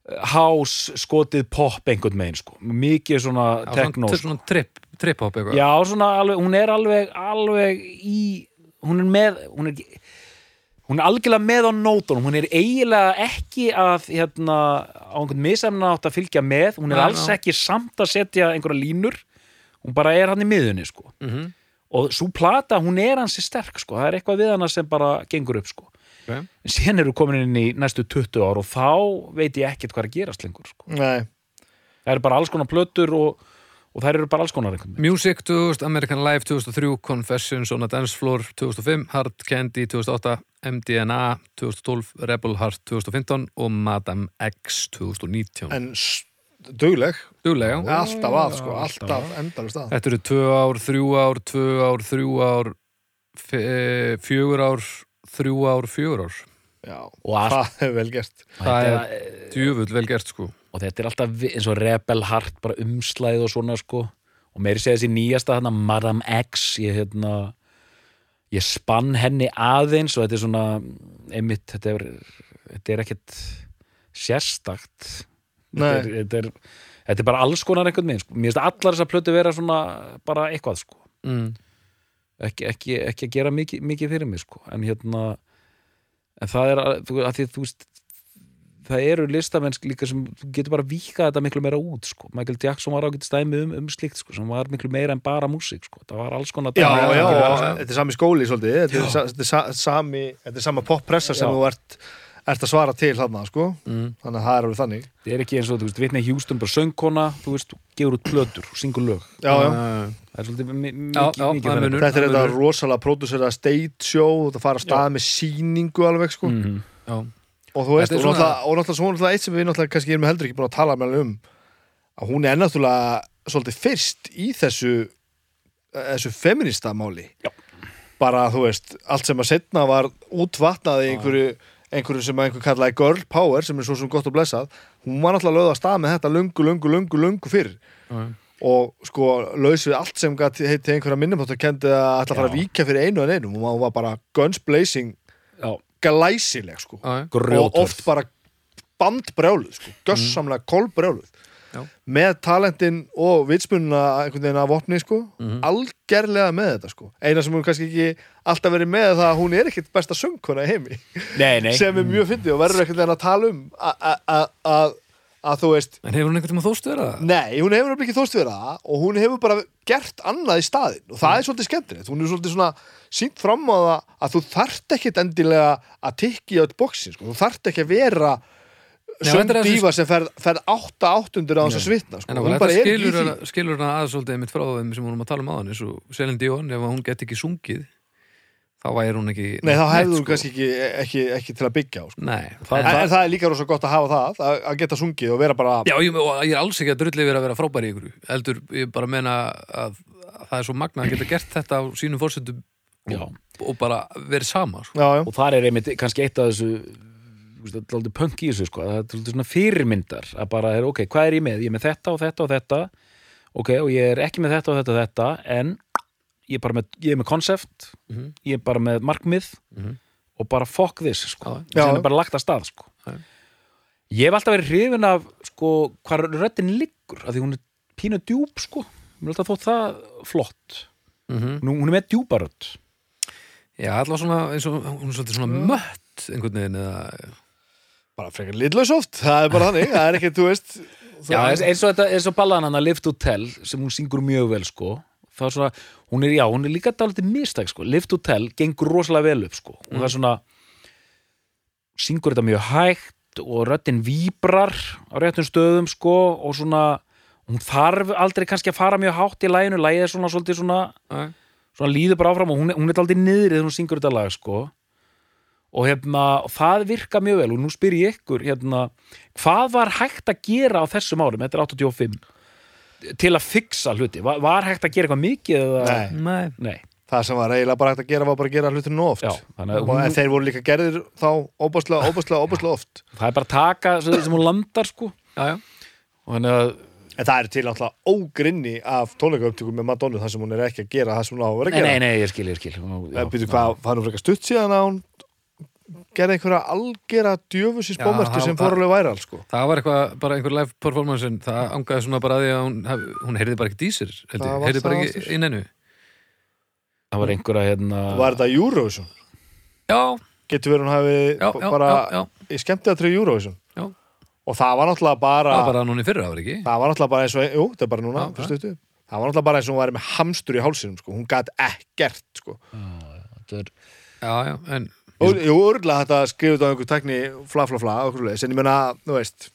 Speaker 3: eh, house skotið pop einhvern megin sko mikið svona
Speaker 1: Já,
Speaker 3: techno
Speaker 1: svona,
Speaker 3: sko.
Speaker 1: svona trip, trip hop eitthvað
Speaker 3: já svona alveg, hún er alveg alveg í, hún er með hún er ekki Hún er algjörlega með á nótunum, hún er eiginlega ekki að, hérna, á einhvern misemna átt að fylgja með, hún er
Speaker 1: Nei,
Speaker 3: alls
Speaker 1: já.
Speaker 3: ekki samt að setja einhverja línur, hún bara er hann í miðunni, sko
Speaker 1: Mhm.
Speaker 3: og svo plata, hún er hansi sterk sko. það er eitthvað við hana sem bara gengur upp sko.
Speaker 1: Ok.
Speaker 3: en síðan eru komin inn í næstu 20 ár og þá veit ég ekkert hvað er að gerast lengur sko.
Speaker 2: Nei,
Speaker 3: það eru bara alls konar plötur og, og það eru bara alls konar einhvern veginn.
Speaker 1: Music 2000, American Life 2003, Confessions on a Dance Floor 2005, Hard Candy 2008, MDNA 2012, Rebel Heart 2015 og Madame X 2019.
Speaker 2: en s- dugleg
Speaker 1: Duglega, já.
Speaker 2: Alltaf að sko, alltaf endalist að
Speaker 1: Þetta eru tvö ár, þrjú ár, tvö ár, þrjú ár, f- eh, fjögur ár, þrjú ár, fjögur ár.
Speaker 2: Já,
Speaker 3: Og allt-
Speaker 2: það er vel gert
Speaker 1: Það
Speaker 3: Þetta
Speaker 1: er djöfull vel gert sko.
Speaker 3: og þetta er alltaf vi- eins og rebel heart bara umslæð og svona sko. og meiri segja þessi nýjasta hana, Madame X ég, hérna, ég spann henni aðeins og þetta er svona einmitt, þetta er, þetta er ekkert sérstakt þetta
Speaker 2: Nei.
Speaker 3: er, þetta, er, þetta er bara alls konar einhvern veginn sko. mér finnst allar þessar plötu vera svona bara eitthvað sko
Speaker 1: mm.
Speaker 3: ekki, ekki, ekki að gera mikið, mikið fyrir mig sko. en hérna en það er að, þú- að því þú veist það eru listamenn líka sem þú getur bara víkað þetta miklu meira út sko. Michael Jackson var ágætt stæmi um, um slíkt sko, sem var miklu meira en bara músík sko. það var alls konar
Speaker 2: Já,
Speaker 3: dæmi.
Speaker 2: já,
Speaker 3: Það var-
Speaker 2: og þetta er sami skóli svolítið, þetta er, sa, þetta er sa, sami þetta er sama poppressa sem
Speaker 3: Já.
Speaker 2: þú ert ert að svara til þarna, sko
Speaker 1: Mm.
Speaker 2: þannig að það er alveg þannig
Speaker 3: það er ekki eins og þú veist, Whitney Houston bara söngkona, þú veist, þú gefur út plötur og syngur lög,
Speaker 2: Já, já,
Speaker 3: það er svolítið mi- mi-
Speaker 1: Já,
Speaker 3: mikið
Speaker 1: já,
Speaker 3: mikið
Speaker 1: það
Speaker 3: þannig.
Speaker 1: munur.
Speaker 2: þetta er
Speaker 1: alveg-
Speaker 2: þetta rosalega pródusera state show, þetta fara að staða með sýningu alveg, sko,
Speaker 3: Mhm.
Speaker 1: já,
Speaker 2: og þú veist,
Speaker 1: Þetta er
Speaker 2: og
Speaker 1: svona-
Speaker 2: náttúrulega, og náttúrulega svona náttúrulega eitt sem við náttúrulega kannski erum heldur ekki búin að tala með um, að hún er náttúrulega svolítið fyrst í þessu þessu feminista máli
Speaker 3: Já.
Speaker 2: bara, þú veist, allt sem að setna var útvatnað í einhverju einhverju sem að einhver kallaði girl power sem er svo sem gott og blessað, hún var náttúrulega lögð að stað með þetta lungu, lungu, lungu, lungu fyrr
Speaker 1: já,
Speaker 2: og sko laus við allt sem gæti heiti einhverja minnum þótt að kendi að ætla að fara að
Speaker 3: Já.
Speaker 2: víkja fyrir einu en einum og hún var bara guns blazing
Speaker 3: Já,
Speaker 2: glæsileg sko
Speaker 1: já, já.
Speaker 3: grjóthörð.
Speaker 2: og oft bara bandbrjáluð sko, gössamlega
Speaker 1: Já.
Speaker 2: kolbrjáluð með talentin og vitspunna einhvern veginn að vopni sko algerlega með þetta sko eina sem hún kannski ekki alltaf verið með er það að hún er ekkit besta söngkona í heimi
Speaker 3: nei, nei,
Speaker 2: sem er mjög fyndið og verður einhvern veginn að tala um a- a- a- að að þú veist
Speaker 1: En hefur hún einhvern tímann þóst vera það?
Speaker 2: Nei, hún hefur nefnilega ekki þóst vera það og hún hefur bara gert annað í staðinn og það er svolítið skemmtilegt, hún er svolítið svona sínt fram á það að þú þarft ekkit endilega að tikki á eitt bóksin sko. þú þarft ekki að vera
Speaker 1: Nei, þetta er
Speaker 2: söndífa sem ferð, ferð átta áttundur á þess að svitna sko.
Speaker 1: En
Speaker 2: hún
Speaker 1: ákveðlega,
Speaker 2: bara
Speaker 1: þetta
Speaker 2: er ekki í
Speaker 1: skilur,
Speaker 2: því
Speaker 1: að, skilur hana að svolítið einmitt frá þeim sem vorum að tala um aðan eins og Selin Dion, ef hún geti ekki sungið þá væri hún ekki
Speaker 2: Nei, þá hefðu
Speaker 1: neitt,
Speaker 2: þú kannski ekki, ekki, ekki til að byggja á sko.
Speaker 1: Nei,
Speaker 3: Það-
Speaker 1: sko. það,
Speaker 2: en, en það er líka rosa gott að hafa það að, að geta sungið og vera bara
Speaker 1: Já, ég, og ég er alls ekki að drulli yfir að vera frábær í ykkur heldur, ég bara meina að, að það er svo magna að geta gert þetta á sínum fórsöndum
Speaker 3: já
Speaker 1: og bara verið sama sko.
Speaker 2: Já, já,
Speaker 3: og þar er einmitt kannski eitt af þessu þú veist, það er aldrei punk í þessu sko það er aldrei svona fyrirmyndar að bara, er, ok, hvað er ég með? Ég er með þetta og þetta og þetta ok, og ég er ekki með þetta og þetta og þetta en ég er bara með, ég er með konsept
Speaker 1: Mhm.
Speaker 3: ég er bara með markmið
Speaker 1: Mhm.
Speaker 3: og bara fuck this sko
Speaker 1: Já.
Speaker 3: sem
Speaker 2: Já.
Speaker 3: er bara lagt að stað sko
Speaker 1: Já.
Speaker 3: ég hef alltaf verið hrifin af sko, hvar röddin liggur af því hún er pínu djúb sko mér er alltaf þótt það flott
Speaker 1: mm
Speaker 2: Mhm.
Speaker 3: Nú, hún er með djúbarödd
Speaker 1: Já, allavega svona, eins og hún er svolítið svona mött einhvern veginn eða
Speaker 2: bara frekar litlaus oft það er bara þannig, það er ekki, þú veist þú-
Speaker 3: Já, eins- eins og, þetta, eins og ballan hann að Lift Hotel sem hún syngur mjög vel sko þá er svona, hún er, já, hún er líka dálítið mistæk sko, Lift Hotel gengur rosalega vel upp sko, og
Speaker 2: Mm.
Speaker 3: það er svona syngur þetta mjög hægt og röddin víbrar á réttum stöðum sko og svona, hún þarf aldrei kannski að fara mjög hátt í læginu, lægið er svona svolítið svona,
Speaker 1: Æ,
Speaker 3: svona líður bara áfram og hún, er- hún er aldrei niðrið þegar hún syngur þetta lag sko og hérna, og það virka mjög vel og nú spyr ég ykkur hérna, hvað var hægt að gera á þessum árum, þetta er 85 til að fixa hluti, var, var hægt að gera eitthvað mikið eða...
Speaker 2: Nei,
Speaker 1: Nei,
Speaker 3: Nei,
Speaker 2: það sem var eiginlega bara hægt að gera var bara að gera hlutinu oft
Speaker 3: já, þannig að
Speaker 2: og en
Speaker 3: hún,
Speaker 2: þeir voru líka gerðir þá óbáslega, óbáslega, óbáslega oft
Speaker 3: það er bara að taka sem sem hún landar sko
Speaker 1: já, já
Speaker 3: og þannig að,
Speaker 2: en það er til alltaf ógrinni af tónleikauptökum með Madonna þar sem hún er ekki að gera það sem hún á að vera að
Speaker 3: nei,
Speaker 2: gera
Speaker 3: nei, nei, ég skil, ég skil Hún- já,
Speaker 2: en byrju hvað, það er nú frekar stutt síðan að hún gerði einhverja algera djöfusins
Speaker 1: Já,
Speaker 2: bómertu
Speaker 1: það-
Speaker 2: sem fór alveg væral sko.
Speaker 1: Það var eitthvað, bara einhver live performance en það angaði svona bara að því að hún, hef- hún heyrði bara ekki dísir, heldur,
Speaker 2: Það var
Speaker 1: heyrði bara
Speaker 2: það
Speaker 1: ekki
Speaker 2: aftur.
Speaker 1: inn ennu
Speaker 3: það var einhverja hérna
Speaker 2: var þetta Eurovision?
Speaker 1: Já,
Speaker 2: getur verið hún hafi
Speaker 1: já, já,
Speaker 2: bara
Speaker 1: já, já,
Speaker 2: í skemmtiðatri Eurovision
Speaker 1: já
Speaker 2: og það var náttúrulega bara,
Speaker 1: Það var bara núna í fyrra, var ekki?
Speaker 2: það var náttúrulega bara eins og jú, þetta er bara núna,
Speaker 1: Já,
Speaker 2: fyrir stuttu það var náttúrulega bara eins og hún væri með hamstur í hálsinum sko. hún gat ekkert sko.
Speaker 3: þetta er-
Speaker 1: Já, já, en
Speaker 2: Jú, jú, örgulega þetta skrifið á einhver tækni fla, fla, fla, okkur leis, en ég meina, þú veist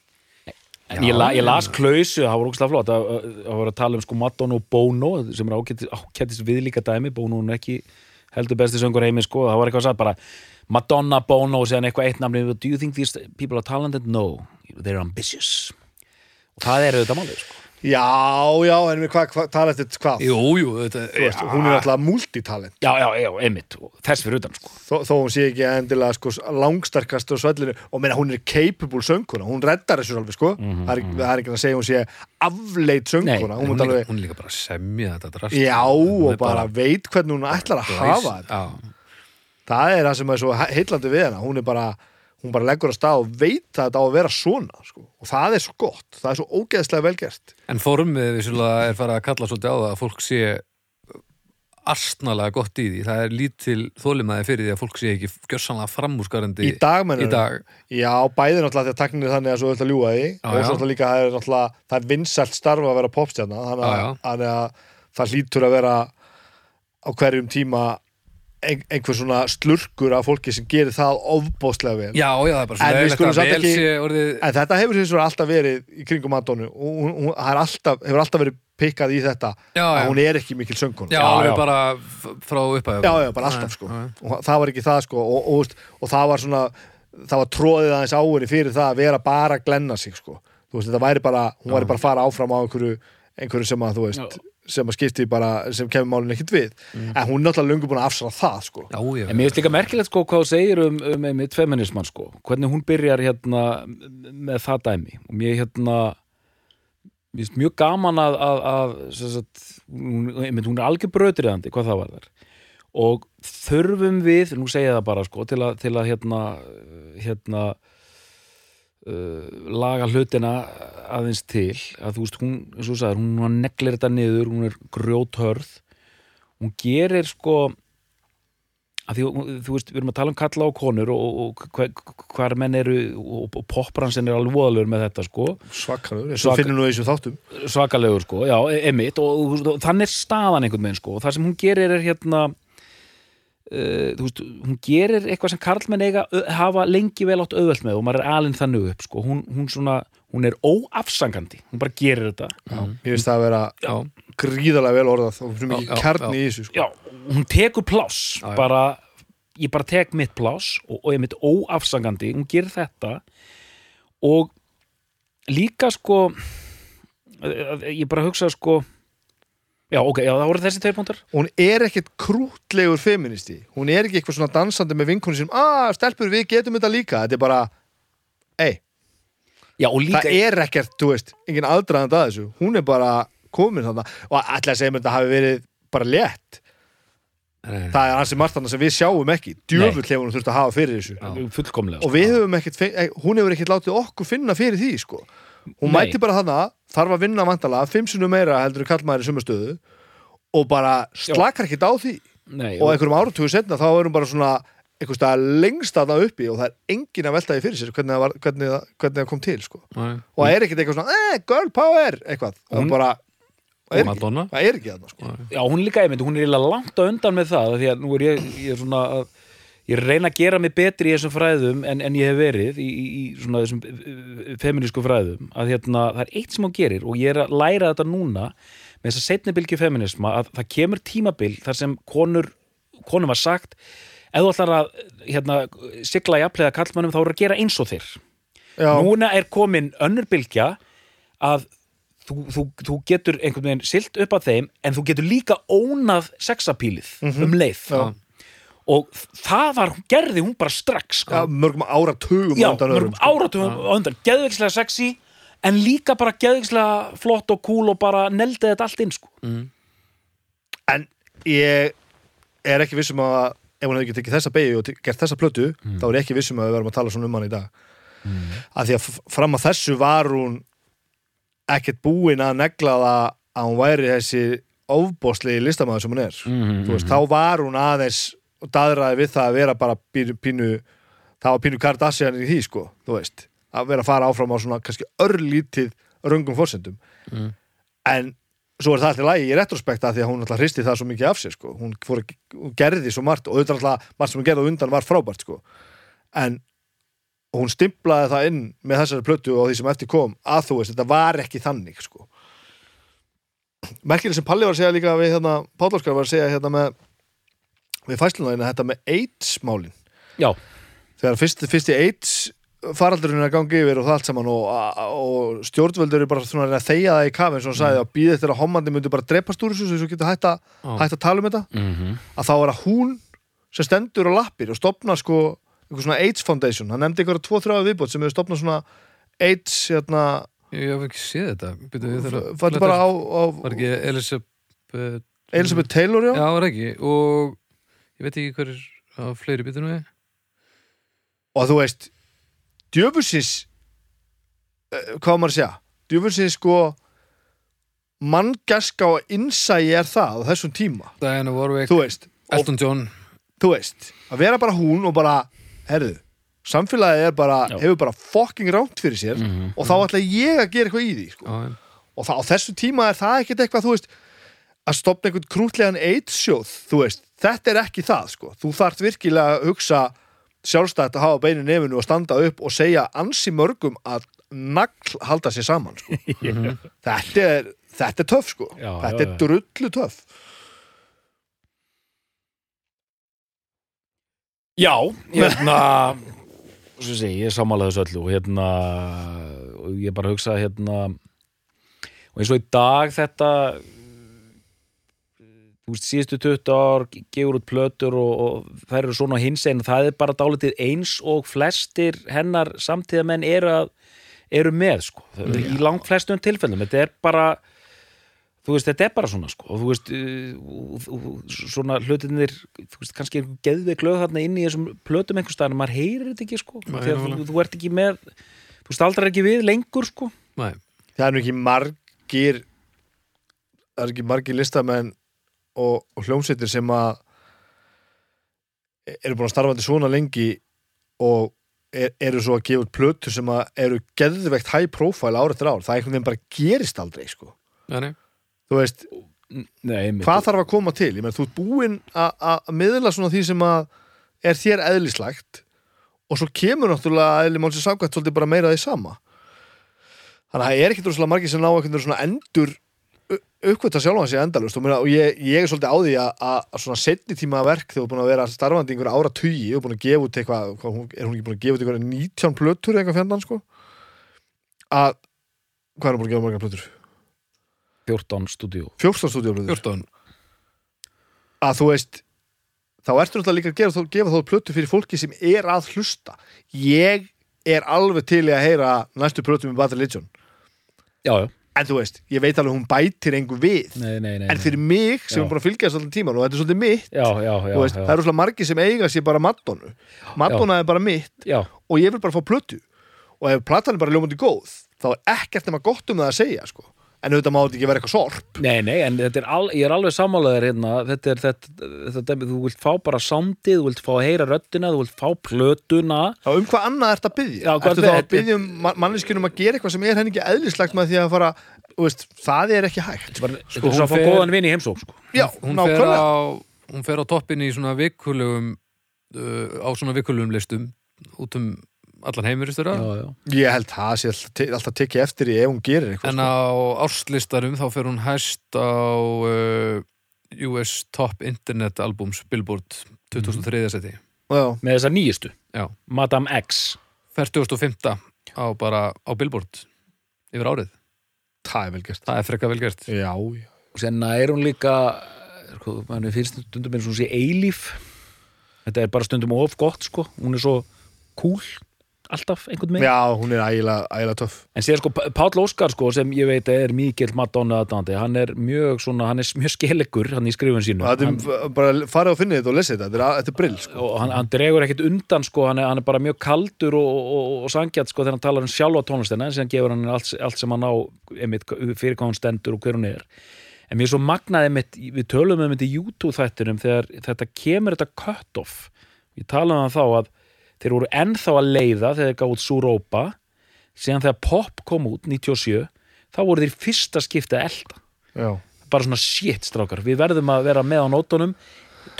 Speaker 3: En ég, la, ég las klausu, það var ógstlega flott að, að, að vera að tala um sko Madonna og Bono sem er ágætis, ágætis viðlíka dæmi Bono hún er ekki heldur besti söngur heimi sko, það var eitthvað sagt bara Madonna, Bono og séðan eitthvað eitt namni Do you think these people are talented? No They're ambitious og það er auðvitað málið sko
Speaker 2: Já, já, en við hvað, hva, tala eftir hvað
Speaker 1: Jú, jú, þetta
Speaker 2: Þú veist, Hún er alltaf multitalent
Speaker 3: Já, já, já, einmitt, og þess fyrir utan sko
Speaker 2: þó, þó hún sé ekki endilega sko, langstarkast á svellinu og meina hún er capable söngkona hún reddar þessu alveg sko það, er, það er ekki að segja hún sé afleit söngkona
Speaker 3: Nei,
Speaker 2: hún
Speaker 1: hún,
Speaker 2: mútt
Speaker 1: líka,
Speaker 2: alveg,
Speaker 1: hún líka bara að semja þetta drast
Speaker 2: já
Speaker 1: Hún
Speaker 2: og
Speaker 1: er
Speaker 2: bara veit hvernig hún ætlar að hafa þetta
Speaker 1: Já,
Speaker 2: það er það sem er svo he- heillandi við hana hún er bara, hún bara leggur að stað og veit að þetta á að vera svona sko. og það er svo gott, það er svo ógeðslega velgert
Speaker 1: En formið vissulega er farið að kalla svolítið á það að fólk sé arsnalega gott í því. Það er lítil þólimaði fyrir því að fólk sé ekki gjörsanlega framúrskarandi
Speaker 2: í dag mennur
Speaker 1: í dag.
Speaker 2: já, bæði náttúrulega því að taknir þannig að svo auðvitað ljúga því og
Speaker 1: já.
Speaker 2: svo náttúrulega líka það er náttúrulega það er vinsælt starf að vera popstjarna þannig
Speaker 1: Já, já.
Speaker 2: að, þannig að það hlýtur að vera á hverjum tíma ein, einhver svona slurkur af fólki sem gerir það ofbóðslega vel
Speaker 1: Já, já, það er bara
Speaker 2: En
Speaker 1: svo
Speaker 2: við
Speaker 1: leiðilegt
Speaker 2: skulum
Speaker 1: að
Speaker 2: samt
Speaker 1: vel
Speaker 2: ekki-
Speaker 1: sé orðið...
Speaker 2: en þetta hefur hins vegar alltaf verið í kringum Madonu og hún, hún, það er alltaf, hefur alltaf verið pikkað í þetta
Speaker 1: Já,
Speaker 2: að
Speaker 1: já.
Speaker 2: hún er ekki mikil söngkona
Speaker 1: Já,
Speaker 3: Já,
Speaker 1: alveg
Speaker 3: já.
Speaker 1: bara f- frá upphæðu.
Speaker 2: já, já, bara alltaf sko og það var ekki það sko og, og, veist, og það var svona það var tróðið aðeins á henni fyrir það að vera bara að glenna sig sko þú veist, þetta væri bara, hún væri bara að fara áfram á einhverju, einhverju sem að þú veist sem að skipti bara, sem kemur málinu ekkit við
Speaker 1: Mm.
Speaker 2: en hún er náttúrulega löngu búin að afsala það sko
Speaker 1: Já, já.
Speaker 3: En mér finnst líka merkilegt sko hvað þú segir um, um, um feminisman sko, hvernig hún byrjar hérna með það dæmi og mér hérna mér finnst mjög gaman að, að, að sem sagt, hún, einmitt, hún er algjör brötriðandi hvað það var þar og þurfum við, nú segja ég það bara sko til að, til að hérna hérna uh, laga hlutina aðeins til að þú veist, hún, eins og þú sagðir, hún, hún neglir þetta niður, hún er grjóthörð hún gerir sko að því, hún- þú veist, við erum að tala um kalla og konur og, og, og hver menn eru og, og poppransin er alveg voðalegur með þetta sko
Speaker 2: svakalur, eins og
Speaker 3: Svak-
Speaker 2: finnir nú í þessum þáttum
Speaker 3: svakalegur sko, já, e- einmitt og, og, og, og þannig er staðan einhvern veginn sko og það sem hún gerir er hérna uh, þú veist, hún gerir eitthvað sem karlmenn eiga ö- hafa lengi vel átt auðvelt með og maður er alinn þannig upp sko hún, hún svona, hún er óafsangandi hún bara gerir þetta
Speaker 2: ég veist það að vera
Speaker 1: Já,
Speaker 2: gríðarlega vel orðað og fyrir
Speaker 1: Já,
Speaker 2: mikið
Speaker 1: já,
Speaker 2: kjarni í þessu sko
Speaker 3: já, hún tekur pláss
Speaker 1: Já, já.
Speaker 3: bara, ég bara tek mitt pláss og, og ég mitt óafsangandi, hún gerir þetta og líka sko eh, ég bara hugsa sko já, ok, já, það voru þessi tveir punktar
Speaker 2: hún er ekkert krútlegur feministi hún er ekki eitthvað svona dansandi með vinkunni sem að stelpur við getum þetta líka þetta er bara, ei
Speaker 3: já, og líka,
Speaker 2: það er ekkert, þú veist, engin aðdraðand að þessu hún er bara komin þarna og allir að segja mér þetta hafi verið bara létt
Speaker 1: Nei.
Speaker 2: það er hansi margt þarna sem við sjáum ekki djöfull hefur hún þurft að hafa fyrir þessu
Speaker 3: fullkomlega sko.
Speaker 2: og við höfum ekkert, fe- eh, hún hefur ekkert látið okkur finna fyrir því, sko hún
Speaker 3: Nei.
Speaker 2: mæti bara þarna, þarf að vinna vantala fimm sinnum meira heldur kallmaður í sömu stöðu og bara slakar ekkert á því
Speaker 3: Nei,
Speaker 2: og
Speaker 3: og,
Speaker 2: einhverjum áratugu setna þá er hún bara svona einhvers staðar lengst þarna uppi og það er engin að velta því fyrir sér hvernig það, var, hvernig það, hvernig það kom til, sko
Speaker 1: já.
Speaker 2: og það er ekkert eitthvað svona, eh, girl power eitthvað, það er
Speaker 3: Hún-
Speaker 2: bara það er ekki,
Speaker 1: Madonna.
Speaker 2: það er ekki þarna sko.
Speaker 3: já, hún er líka einmitt, hún er eiginlega langt á undan með það af því að nú er ég, ég er svona að ég reyna að gera mig betri í þessum fræðum en, en ég hef verið í, í, í svona þessum eh, feminísku fræðum að hérna, það er eitt sem hún gerir og ég er að læra þetta núna með þess að setni bylgi feminisma að það kemur tímabil þar sem konur konum var sagt ef þú ætlar að hérna, sigla jafnlega kallmannum þá eru að gera eins og þeir
Speaker 2: já,
Speaker 3: núna er komin önnur bylgja að þú, þú, þú getur einhvern veginn silt upp að þeim en þú getur líka ónað sexapílið um leið
Speaker 2: Mhm. Já.
Speaker 3: og það var, gerði hún bara strax sko.
Speaker 2: já, mörgum áratugum
Speaker 3: já,
Speaker 2: á undan öðrum, sko.
Speaker 3: mörgum áratugum á undan geðvikslega sexy en líka bara geðvikslega flott og cool og bara neldi þetta allt inn sko.
Speaker 2: Mm. en ég er ekki vissum að ef hún hefði ekki tekið þessa beigju og te- gert þessa plötu þá er ég ekki vissum að við verum að tala svona um hann í dag af því að f- fram að þessu var hún ekkert búin að negla það að hún væri þessi ofbóðslegi listamaður sem hún er
Speaker 3: Mhm,
Speaker 2: Þú veist, þá var hún aðeins og daðraði við það að vera bara pínu, pínu það var pínu Kardashian í því sko, þú veist, að vera að fara áfram á svona kannski örlítið röngum fórsendum en svo er það allir lagi í retrospekta af því að hún alltaf hristi það svo mikið af sér sko. hún, fór, að- hún gerði svo margt og auðvitað alltaf margt sem hún gerði á undan var frábært sko. en hún stimplaði það inn með þessari plötu og því sem eftir kom að þú veist, þetta var ekki þannig sko. merkileg sem Palli var að segja líka við hérna, Pállarskar var að segja hérna með við fæslunarina þetta með AIDS-málin
Speaker 3: já,
Speaker 2: þegar fyrst, fyrsti AIDS faraldurinn er að ganga yfir og það allt saman og, og stjórnvöldur eru bara svona að reyna að þegja það í kafi eins og hann sagði
Speaker 1: Mm.
Speaker 2: að býða eftir að hommandi myndi bara drepast úr þessu svo þessu getur hætt að hætt að tala um þetta
Speaker 3: Mhm.
Speaker 2: að þá er að hún sem stendur á lappir og stopnar sko einhver svona AIDS Foundation, hann nefndi einhverja tvo þrjá viðbót sem hefur stopnað svona AIDS hérna,
Speaker 1: Ég hef ekki séð þetta. Býtu, ég þarf að...
Speaker 2: fætti bara á, á
Speaker 1: Var ekki Elisabeth...
Speaker 2: Elisabeth Taylor já,
Speaker 1: Já, var ekki. Og ég veit ekki hverjir á fleiri býtunum við.
Speaker 2: og þú veist djöfusins eh, hvað á maður að segja djöfusins sko manngaska og innsægi er það á þessum tíma,
Speaker 1: Diana Warwick,
Speaker 2: þú veist og,
Speaker 1: Elton John
Speaker 2: þú veist, að vera bara hún og bara, herðu, samfélagið er bara,
Speaker 3: Já. Mm.
Speaker 2: hefur bara fucking ránt fyrir sér og þá ætla ég að gera eitthvað í því sko.
Speaker 1: Já, já.
Speaker 2: og það, á þessu tíma er það ekkert eitthvað, þú veist að stopna einhvern krútlegan eittsjóð þú veist, þetta er ekki það, sko þú þarft virkilega að hugsa sjálfstætt að hafa beinu nefinu og standa upp og segja ansi mörgum að nagl halda sér saman, sko þetta er, þetta er töff, sko
Speaker 3: Já,
Speaker 2: þetta
Speaker 3: já,
Speaker 2: er
Speaker 3: já.
Speaker 2: drullu töff
Speaker 3: Já, hérna svo sé, ég er sammálaði þessu öllu og hérna og ég bara hugsa hérna og eins og í dag þetta þú veist, síðustu 20 ár gefur út plötur og, og þær eru svona hins einn það er bara dálítið eins og flestir hennar samtíðamenn eru að eru með, sko, Það er í langt flestum tilfellum, þetta er bara þú veist, þetta er bara svona, sko og þú veist, uh, og- og- og svona hlutinir, þú veist, kannski er geðveik lög þarna inn í þessum plötum einhvers staðar en maður heyrir þetta ekki, sko,
Speaker 1: Nei,
Speaker 3: þegar
Speaker 1: nákvæmlega.
Speaker 3: þú, þú ert ekki með þú staldrar ekki við lengur, sko
Speaker 1: Nei.
Speaker 2: það er nú ekki margir það er ekki margir listamenn og, og hljómsveitir sem að eru búin að starfa þetta svona lengi og er, eru svo að gefa út plötu sem að eru geðvegt high profile árið til ár það er einhvern veginn bara gerist aldrei sko.
Speaker 1: Nei, nei.
Speaker 2: þú veist,
Speaker 3: Nei, einmitt.
Speaker 2: hvað þarf að koma til ég menn þú ert búinn að- að að miðla svona því sem að er þér eðlislegt og svo kemur náttúrulega eðli málsins ákvæmt svolítið bara meira af því sama þannig að það er ekkert rosalega margir sem ná einhvern veginn svona endur uppkvæmt að sjálfa sig endalust og, meina, og ég, ég er svolítið á því að, að, að svona setni tíma verk þegar þú er búin að vera starfandi einhver ára tugi og búin að gefa út eitthvað hvað hún- er hún ekki búin að gefa út eitthvað 19 plötur eða eitthvað fjandann sko að hvað er hún búin að gefa margar plötur?
Speaker 3: 14 stúdíu
Speaker 2: 14 stúdíóplötur
Speaker 1: 14
Speaker 2: að þú veist þá ertu náttúrulega líka að gera, þó- gefa þá plötu fyrir fólki sem er að hlusta ég er alveg til í að heyra næstu plötu með Bad Religion
Speaker 3: Já, já,
Speaker 2: en þú veist, ég veit alveg hún bætir engu við
Speaker 3: nei, nei, nei
Speaker 2: en fyrir mig sem
Speaker 3: Já.
Speaker 2: er búin að fylgja þessu allan tíman og þetta er svolítið mitt
Speaker 3: Já, já, já,
Speaker 2: þú veist,
Speaker 3: já.
Speaker 2: það eru svolítið margir sem eiga sér bara Madonu Madonna er bara mitt
Speaker 3: já,
Speaker 2: og ég vil bara fá plötu og ef platan er bara ljómandi góð þá er ekkert nema gott um það að segja sko. en auðvitað má þetta ekki vera eitthvað sorp
Speaker 3: Nei, nei, en þetta er al, ég er alveg sammálaður hérna, þetta er þetta, þetta dæmi, þú vilt fá bara sándið, þú vilt fá að heyra röddina, þú vilt fá plötuna,
Speaker 2: þá um hvað annað ertu að byggja
Speaker 3: Já, hvað
Speaker 2: ertu þá að
Speaker 3: þetta-
Speaker 2: byggja um manneskjunum að gera eitthvað sem er henni ekki eðlislegt með því að fara þú veist, það er ekki hægt
Speaker 3: þetta er bara- þetta
Speaker 1: hún
Speaker 3: er svo að fá
Speaker 1: fer-
Speaker 3: góðan vinn í heimsók, sko.
Speaker 2: já,
Speaker 1: hún fer,
Speaker 2: nákvæmlega
Speaker 1: á, hún fer á toppin í svona vikulegum uh, á svona vikulegum listum út um allan heimurist þeirra
Speaker 3: Já, já.
Speaker 2: ég held það sé alltaf te- alltaf tekið eftir í ef hún gerir eitthvað
Speaker 1: en
Speaker 2: sko.
Speaker 1: á árslistarum þá fer hún hæst á uh, US Top Internet Albums Billboard 2003
Speaker 2: Mhm.
Speaker 1: seti
Speaker 2: já,
Speaker 3: Með þessa nýjustu,
Speaker 1: já,
Speaker 3: Madame X.
Speaker 1: 45. á bara á Billboard yfir árið,
Speaker 2: það er vel gert
Speaker 1: það er frekka vel gert
Speaker 2: já, já.
Speaker 3: Og senna er hún líka, sko, mann finnst stundum eins og hún sé eilíf, þetta er bara stundum of gott, sko, hún er svo cool, alltaf, einhvern veginn.
Speaker 2: já, hún er ægilega, ægilega töff
Speaker 3: En sér sko, P- Páll Óskar sko, sem ég veit að er mikill Madonna aðdandi, hann er mjög svona, hann er mjög skelegur hann í skrifun sínu.
Speaker 2: Og Þetta er bara farið og finnið þetta og lesið þetta, þetta er, þetta er brill sko.
Speaker 3: og hann, hann dregur ekkert undan sko, hann, er, hann er bara mjög kaldur og, og, og, og sangjart sko, þegar hann talar um sjálfa tónlistina en síðan gefur hann henni allt, allt sem hann á einmitt, fyrir hvað hann stendur og hver hún er en mér er svo magnaði einmitt, við tölum um þetta í YouTube-þættunum þegar þetta kemur þetta cut-off ég talaði um það þá að þeir voru ennþá að leiða þegar þeir gáðu út Súrópa síðan þegar pop kom út 97 þá voru þeir í fyrsta skipti að elda
Speaker 2: Já.
Speaker 3: bara svona shit strákar, við verðum að vera með á nótunum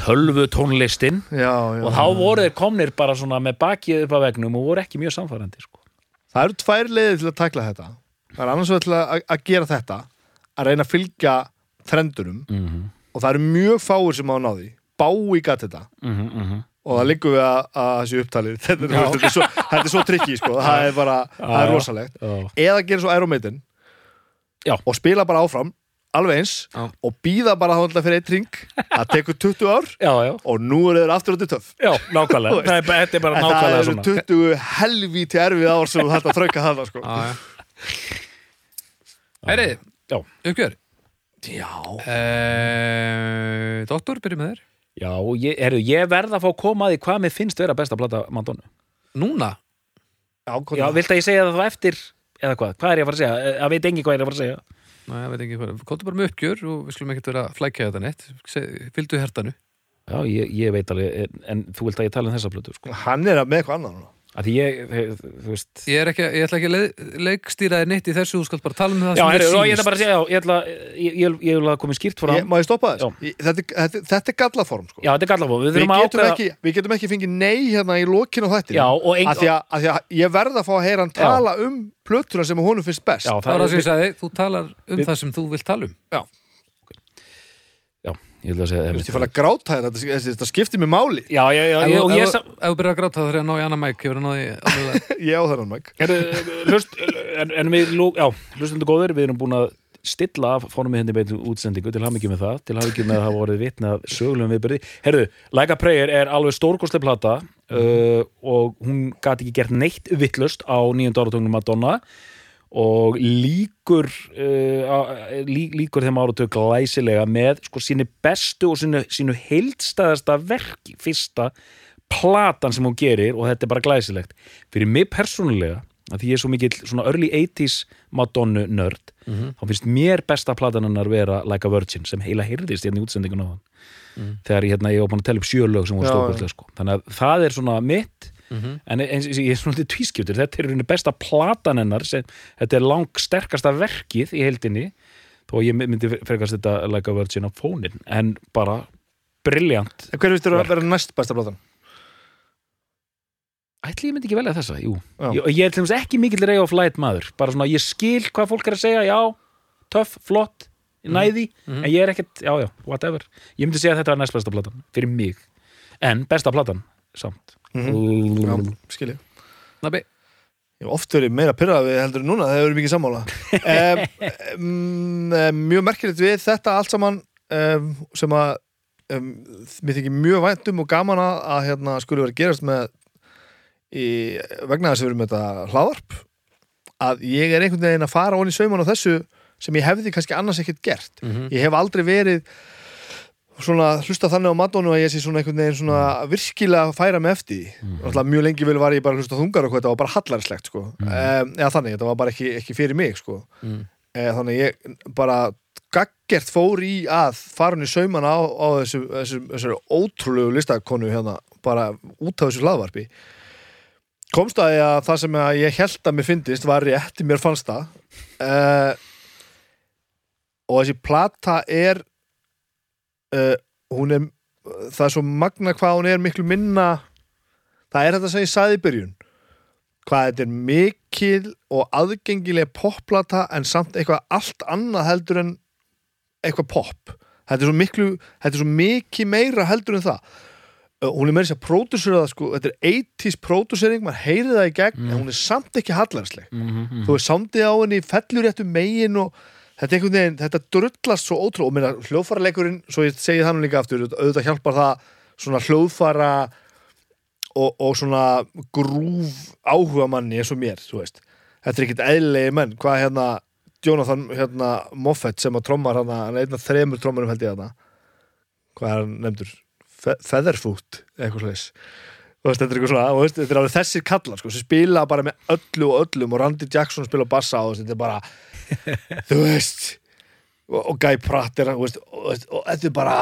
Speaker 3: tölvu tónlistin
Speaker 2: Já, já.
Speaker 3: og þá voru þeir komnir bara svona með bakið upp að vegnum og voru ekki mjög samfærandi sko.
Speaker 2: Það eru tvær leiðir til að takla þetta. Það er annars vegar til að, að gera þetta, að reyna að fylgja trendunum
Speaker 3: Mhm.
Speaker 2: og það eru mjög fáir sem á náði. Bái gæti þetta
Speaker 3: mm -hmm, mm -hmm.
Speaker 2: og það liggur við að, að þessi upptalið. Þetta, er- þetta, er svo, þetta er svo trikki, sko. Það er bara, það er
Speaker 3: Já.
Speaker 2: rosalegt. Eða gera svo Iron Maiden
Speaker 3: Já.
Speaker 2: og spila bara áfram, alveg eins
Speaker 1: Já.
Speaker 2: og býða bara þá alltaf fyrir eitt ring. Það tekur 20 ár
Speaker 3: já, já,
Speaker 2: og nú eru þeir aftur á þetta töff.
Speaker 3: já, nákvæmlega
Speaker 2: veist.
Speaker 3: það er, bara- þetta er bara
Speaker 2: En það
Speaker 3: nákvæmlega
Speaker 2: eru
Speaker 3: svona
Speaker 2: 20 helvíti erfið ár sem þetta þrauka hana, sko.
Speaker 1: Herri,
Speaker 3: Já.
Speaker 1: uppgjör
Speaker 2: Já.
Speaker 1: eh, Doktor, byrjum með þér
Speaker 3: já, ég, heru, ég verð að fá að koma að því hvað mér finnst vera besta plata Madonna
Speaker 1: Núna,
Speaker 2: Já, hvað
Speaker 3: Já,
Speaker 2: er það?
Speaker 3: vilt að ég segja það þá eftir eða hvað, hvað er ég að fara að segja, Eh, það veit engin hvað ég er að fara að segja
Speaker 1: Næ, ég veit ekki hvað, komdu bara með uppgjör og við skulum ekkert vera að flækja þetta neitt Se- fylgdu hertanu
Speaker 3: Já, ég, ég veit alveg, en, en þú vilt að ég tala um þessa plötu, sko
Speaker 2: Hann er með eitthvað annað núna.
Speaker 3: að því ég, eh, þú veist
Speaker 1: Ég, er ekki, ég ætla ekki að leið, leikstýra þér neitt í þessu, þú skalt bara tala um það
Speaker 3: Já,
Speaker 1: sem
Speaker 3: heru, ég
Speaker 1: þér
Speaker 3: ætla
Speaker 1: sýnist
Speaker 3: bara að segja, já, ég ætla ég, ég, ég vil að koma skýrt fram
Speaker 2: Ég- Má ég stoppa
Speaker 3: Já.
Speaker 2: þess? Ég- Þetta, er- þetta, þetta er gallaform sko.
Speaker 3: Já, þetta er gallafóð, við
Speaker 2: við,
Speaker 3: þurfum að
Speaker 2: getum
Speaker 3: ákveða
Speaker 2: ekki, við getum ekki fengið nei hérna í lokinu á þetta
Speaker 3: Já, og ein-
Speaker 2: að því að, að því að ég verð að fá að heyra hann tala um plötuna sem honum finnst best
Speaker 3: Já,
Speaker 1: Það var það sem
Speaker 3: við-
Speaker 1: ég sagði, þú talar um
Speaker 3: Við-
Speaker 1: það sem þú vilt tala um
Speaker 3: Já, ég vil að segja
Speaker 2: Þú veist, ég
Speaker 3: það
Speaker 2: fann að gráta þetta, þetta, þetta, þetta skiptir mig máli
Speaker 3: Já, já, já,
Speaker 1: Ef
Speaker 3: já,
Speaker 1: þú-
Speaker 3: og
Speaker 1: ef
Speaker 3: ég
Speaker 1: þú-
Speaker 3: sam-
Speaker 1: ef þú byrjar að gráta þá þarf ég að ná í annað mæk hefur að ná í alveg-
Speaker 2: Ég á þennan mæk
Speaker 3: Heru, hlust, en, en við, lú- já, hlustundu góður, við erum búin að stilla af formið henni beintu útsendingu til hafa ekki með það, til hafa ekki með að hafa orðið vitni að sögulegum viðbyrði. Herðu, Like a Prayer er alveg stórkostleg plata uh, og hún gati ekki gert neitt vittlust á nýjönda áratögnum Madonna og líkur uh, á- lí, líkur þeim áratug glæsilega með sko sínu bestu og sínu, sínu heildstæðasta verki fyrsta platan sem hún gerir og þetta er bara glæsilegt fyrir mig persónulega að því ég er svo mikill svona early 80s Madonna nörd þá finnst mér besta platan hennar vera Like a Virgin sem heila heyrðist hérna í útsendingun á hann þegar ég, hérna, ég var búin að tella upp sjölög sem
Speaker 2: Mm.
Speaker 3: voru
Speaker 2: Já,
Speaker 3: stókulta sko. þannig að það er svona mitt en e, eins, og ég er svona til tvískiptur þetta er í rauninni besta platan hennar sem, þetta er lang sterkasta verkið í heildinni þó að ég myndi frekast þetta Like a Virgin á fónin en bara briljant
Speaker 2: En hver veist þér að vera næst besta platan?
Speaker 3: ætli ég myndi ekki velja þessa, jú
Speaker 2: Já.
Speaker 3: ég, ég er til dæmis ekki mikill rey of light maður bara svona, ég skil hvað fólk er að segja já, töff, flott,
Speaker 2: Mhm.
Speaker 3: ég næði en
Speaker 1: Mhm.
Speaker 3: ég er ekkert, já, já, whatever ég myndi segja að þetta er næst besta platan, fyrir mig en besta platan, samt
Speaker 2: Mhm. Já,
Speaker 3: mm.
Speaker 2: skil ég
Speaker 1: Nabbi,
Speaker 2: Ég hef oft verið meira pyrrað við heldur en núna þegar við erum ekki sammála um, um, Mjög merkilegt við þetta allt saman um, sem að um, mér þykir mjög væntum og gaman að, að hérna skulle vera að gerast með í, vegna þess að við erum með þetta hlaðarp að ég er einhvern veginn að fara onni sauman á þessu sem ég hefði kannski annars ekkert gert Ég hef aldrei verið svona hlusta þannig á Madonna að ég sé svona einhvern veginn svona virkilega að færa mig eftir mm -hmm. mjög lengi vel var ég bara að hlusta á þungar og hvað þetta var bara hallarslegt sko. mm eða þannig, þetta var bara ekki, ekki fyrir mig sko.
Speaker 1: Mhm.
Speaker 2: eða, þannig ég bara gaggert fór í að fara hún í saumana á, á þessu, þessu, þessu ótrúlegu listakonu hérna, bara út af þessu hlaðvarpi komst að, að það sem að ég held að mér fyndist var rétt, mér fannst það uh, og þessi plata er uh, hún er það er svo magna hvað hún er miklu minna það er þetta sem ég sagði í byrjun hvað þetta er mikil og aðgengileg popplata en samt eitthvað allt annað heldur en eitthvað pop þetta er svo miklu, þetta er svo mikið meira heldur en það Uh, hún er meira sér að pródusera það sko, þetta er 80s pródusering, maður heyri það í gegn en hún er samt ekki hallarsleg þú veist, samdið á henni fellur réttu megin og þetta einhvern veginn, þetta drullast svo ótrú og minna hljóðfæraleikurinn, svo ég segi það nú líka aftur, auðvitað hjálpar það svona hljóðfæra og, og svona grúf áhuga manni eins og mér, þú veist þetta er ekkert eðlilegi menn, hvað hérna Jonathan hérna, Moffett sem að trommar hana, hann er einn af þremur trommarum held ég hana hvað er hann nefndur Fe Featherfoot, eitthvað slags Þú veist, þetta er eitthvað svona, þú veist, þetta er alveg þessir kallar sko, sem spila bara með öllu og öllum og Randy Jackson spila á bassa og þetta er bara þú veist og, og Guy Pratt er, þú veist, og, þú veist, og þetta er bara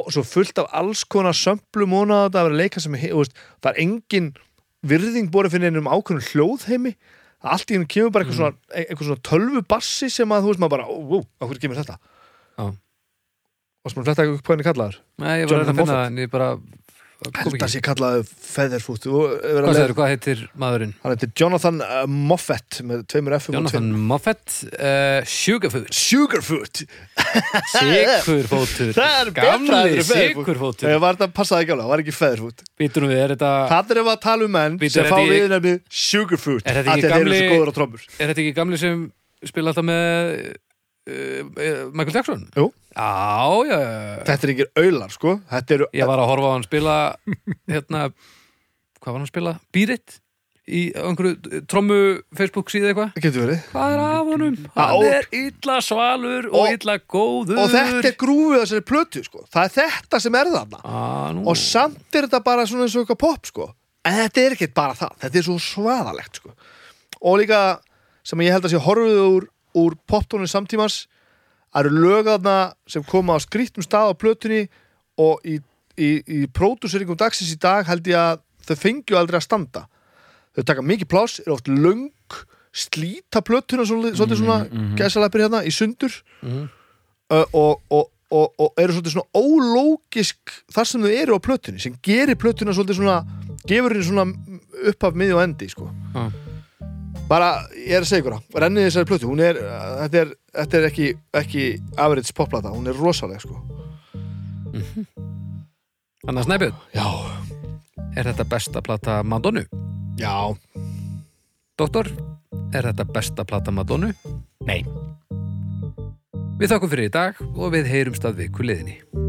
Speaker 2: og svo fullt af alls konar sömplum og annað, það er að leika sem er, þú veist, það er engin virðing búið fyrir neinum ákveðnum hljóðheimi allt í hennu kemur bara
Speaker 1: Mm.
Speaker 2: eitthvað svona, e, eitthvað svona tölvubassi sem að þú veist maður bara, ó, ó, á hverju kemur þetta
Speaker 1: Já.
Speaker 2: og sem fletta ekki upp hvernig kallaður
Speaker 1: Nei, ég var að reyna
Speaker 2: Jonathan
Speaker 1: að finna
Speaker 2: Moffat.
Speaker 1: það en ég bara kom
Speaker 2: held að
Speaker 1: ekki
Speaker 2: sé kallaðu featherfoot þú er
Speaker 1: Hvað
Speaker 2: að
Speaker 1: segir, hvað heitir maðurinn?
Speaker 2: Hann heitir Jonathan uh, Moffett með tveimur F-um
Speaker 1: Jonathan
Speaker 2: og
Speaker 1: Moffett, uh, Sugarfoot
Speaker 2: tveimur Sugarfoot
Speaker 1: Sigurfótur
Speaker 2: Það er betra heldur
Speaker 1: Gamli
Speaker 2: en feðurfót.
Speaker 1: Sigurfótur
Speaker 2: Það var þetta passaði ekki alveg, það var ekki featherfoot
Speaker 1: Býtunum við, er þetta,
Speaker 2: Það er um að tala um menn
Speaker 1: Ah. Bíddu,
Speaker 2: sem
Speaker 1: er
Speaker 2: fá
Speaker 1: þetta í-
Speaker 2: við nefni Sugarfoot
Speaker 1: Er
Speaker 2: af
Speaker 1: þetta
Speaker 2: því
Speaker 1: ekki
Speaker 2: að þeir eru
Speaker 1: gamli-
Speaker 2: svo góður á trommur
Speaker 1: er þetta ekki gamli sem spila alltaf með uh, uh, Michael Jackson?
Speaker 2: Jú.
Speaker 1: Já, já, já
Speaker 2: Þetta er ekki auðlar sko Þetta eru
Speaker 1: Ég var að horfa á hann spila hérna, hvað var hann að spila? Býrit? Í einhverju trommu Facebook síðu eitthvað?
Speaker 2: Getur verið
Speaker 1: Hvað er af honum?
Speaker 2: Á.
Speaker 1: Hann er illa svalur og,
Speaker 2: Og-
Speaker 1: illa góður
Speaker 2: Og þetta er grúfið á þessari plötu sko Það er þetta sem er þarna
Speaker 1: ah, nú,
Speaker 2: Og samt er þetta bara svona eins og eitthvað pop sko en þetta er ekkert bara það, þetta er svo svaðalegt sko. og líka sem ég held að sé horfið úr, úr poptónu samtímans það eru lögaðna sem koma á skrítum stað á plötunni og í, í, í pródúseringum dagsins í dag held ég að þau fengju aldrei að standa þau taka mikið pláss, eru oft löng slíta plötuna svolítið svolítið svona mm gæsalappir hérna í sundur Ö, og, og, og, og eru svolítið svona ólógisk þar sem þau eru á plötunni sem gerir plötuna svolítið svona gefur henni svona uppaf miði og endi sko.
Speaker 1: Já.
Speaker 2: bara ég er að segja ykkur það, rennið þessari plötu hún er, uh, þetta er, þetta er ekki, ekki average popplata, hún er rosaleg sko.
Speaker 1: Þannig að Snæbjörn,
Speaker 2: já,
Speaker 1: er þetta besta plata Madonnu?
Speaker 2: já
Speaker 1: Doktor, er þetta besta plata Madonnu?
Speaker 3: Nei
Speaker 1: Við þakkum fyrir í dag og við heyrumst að viku liðinni.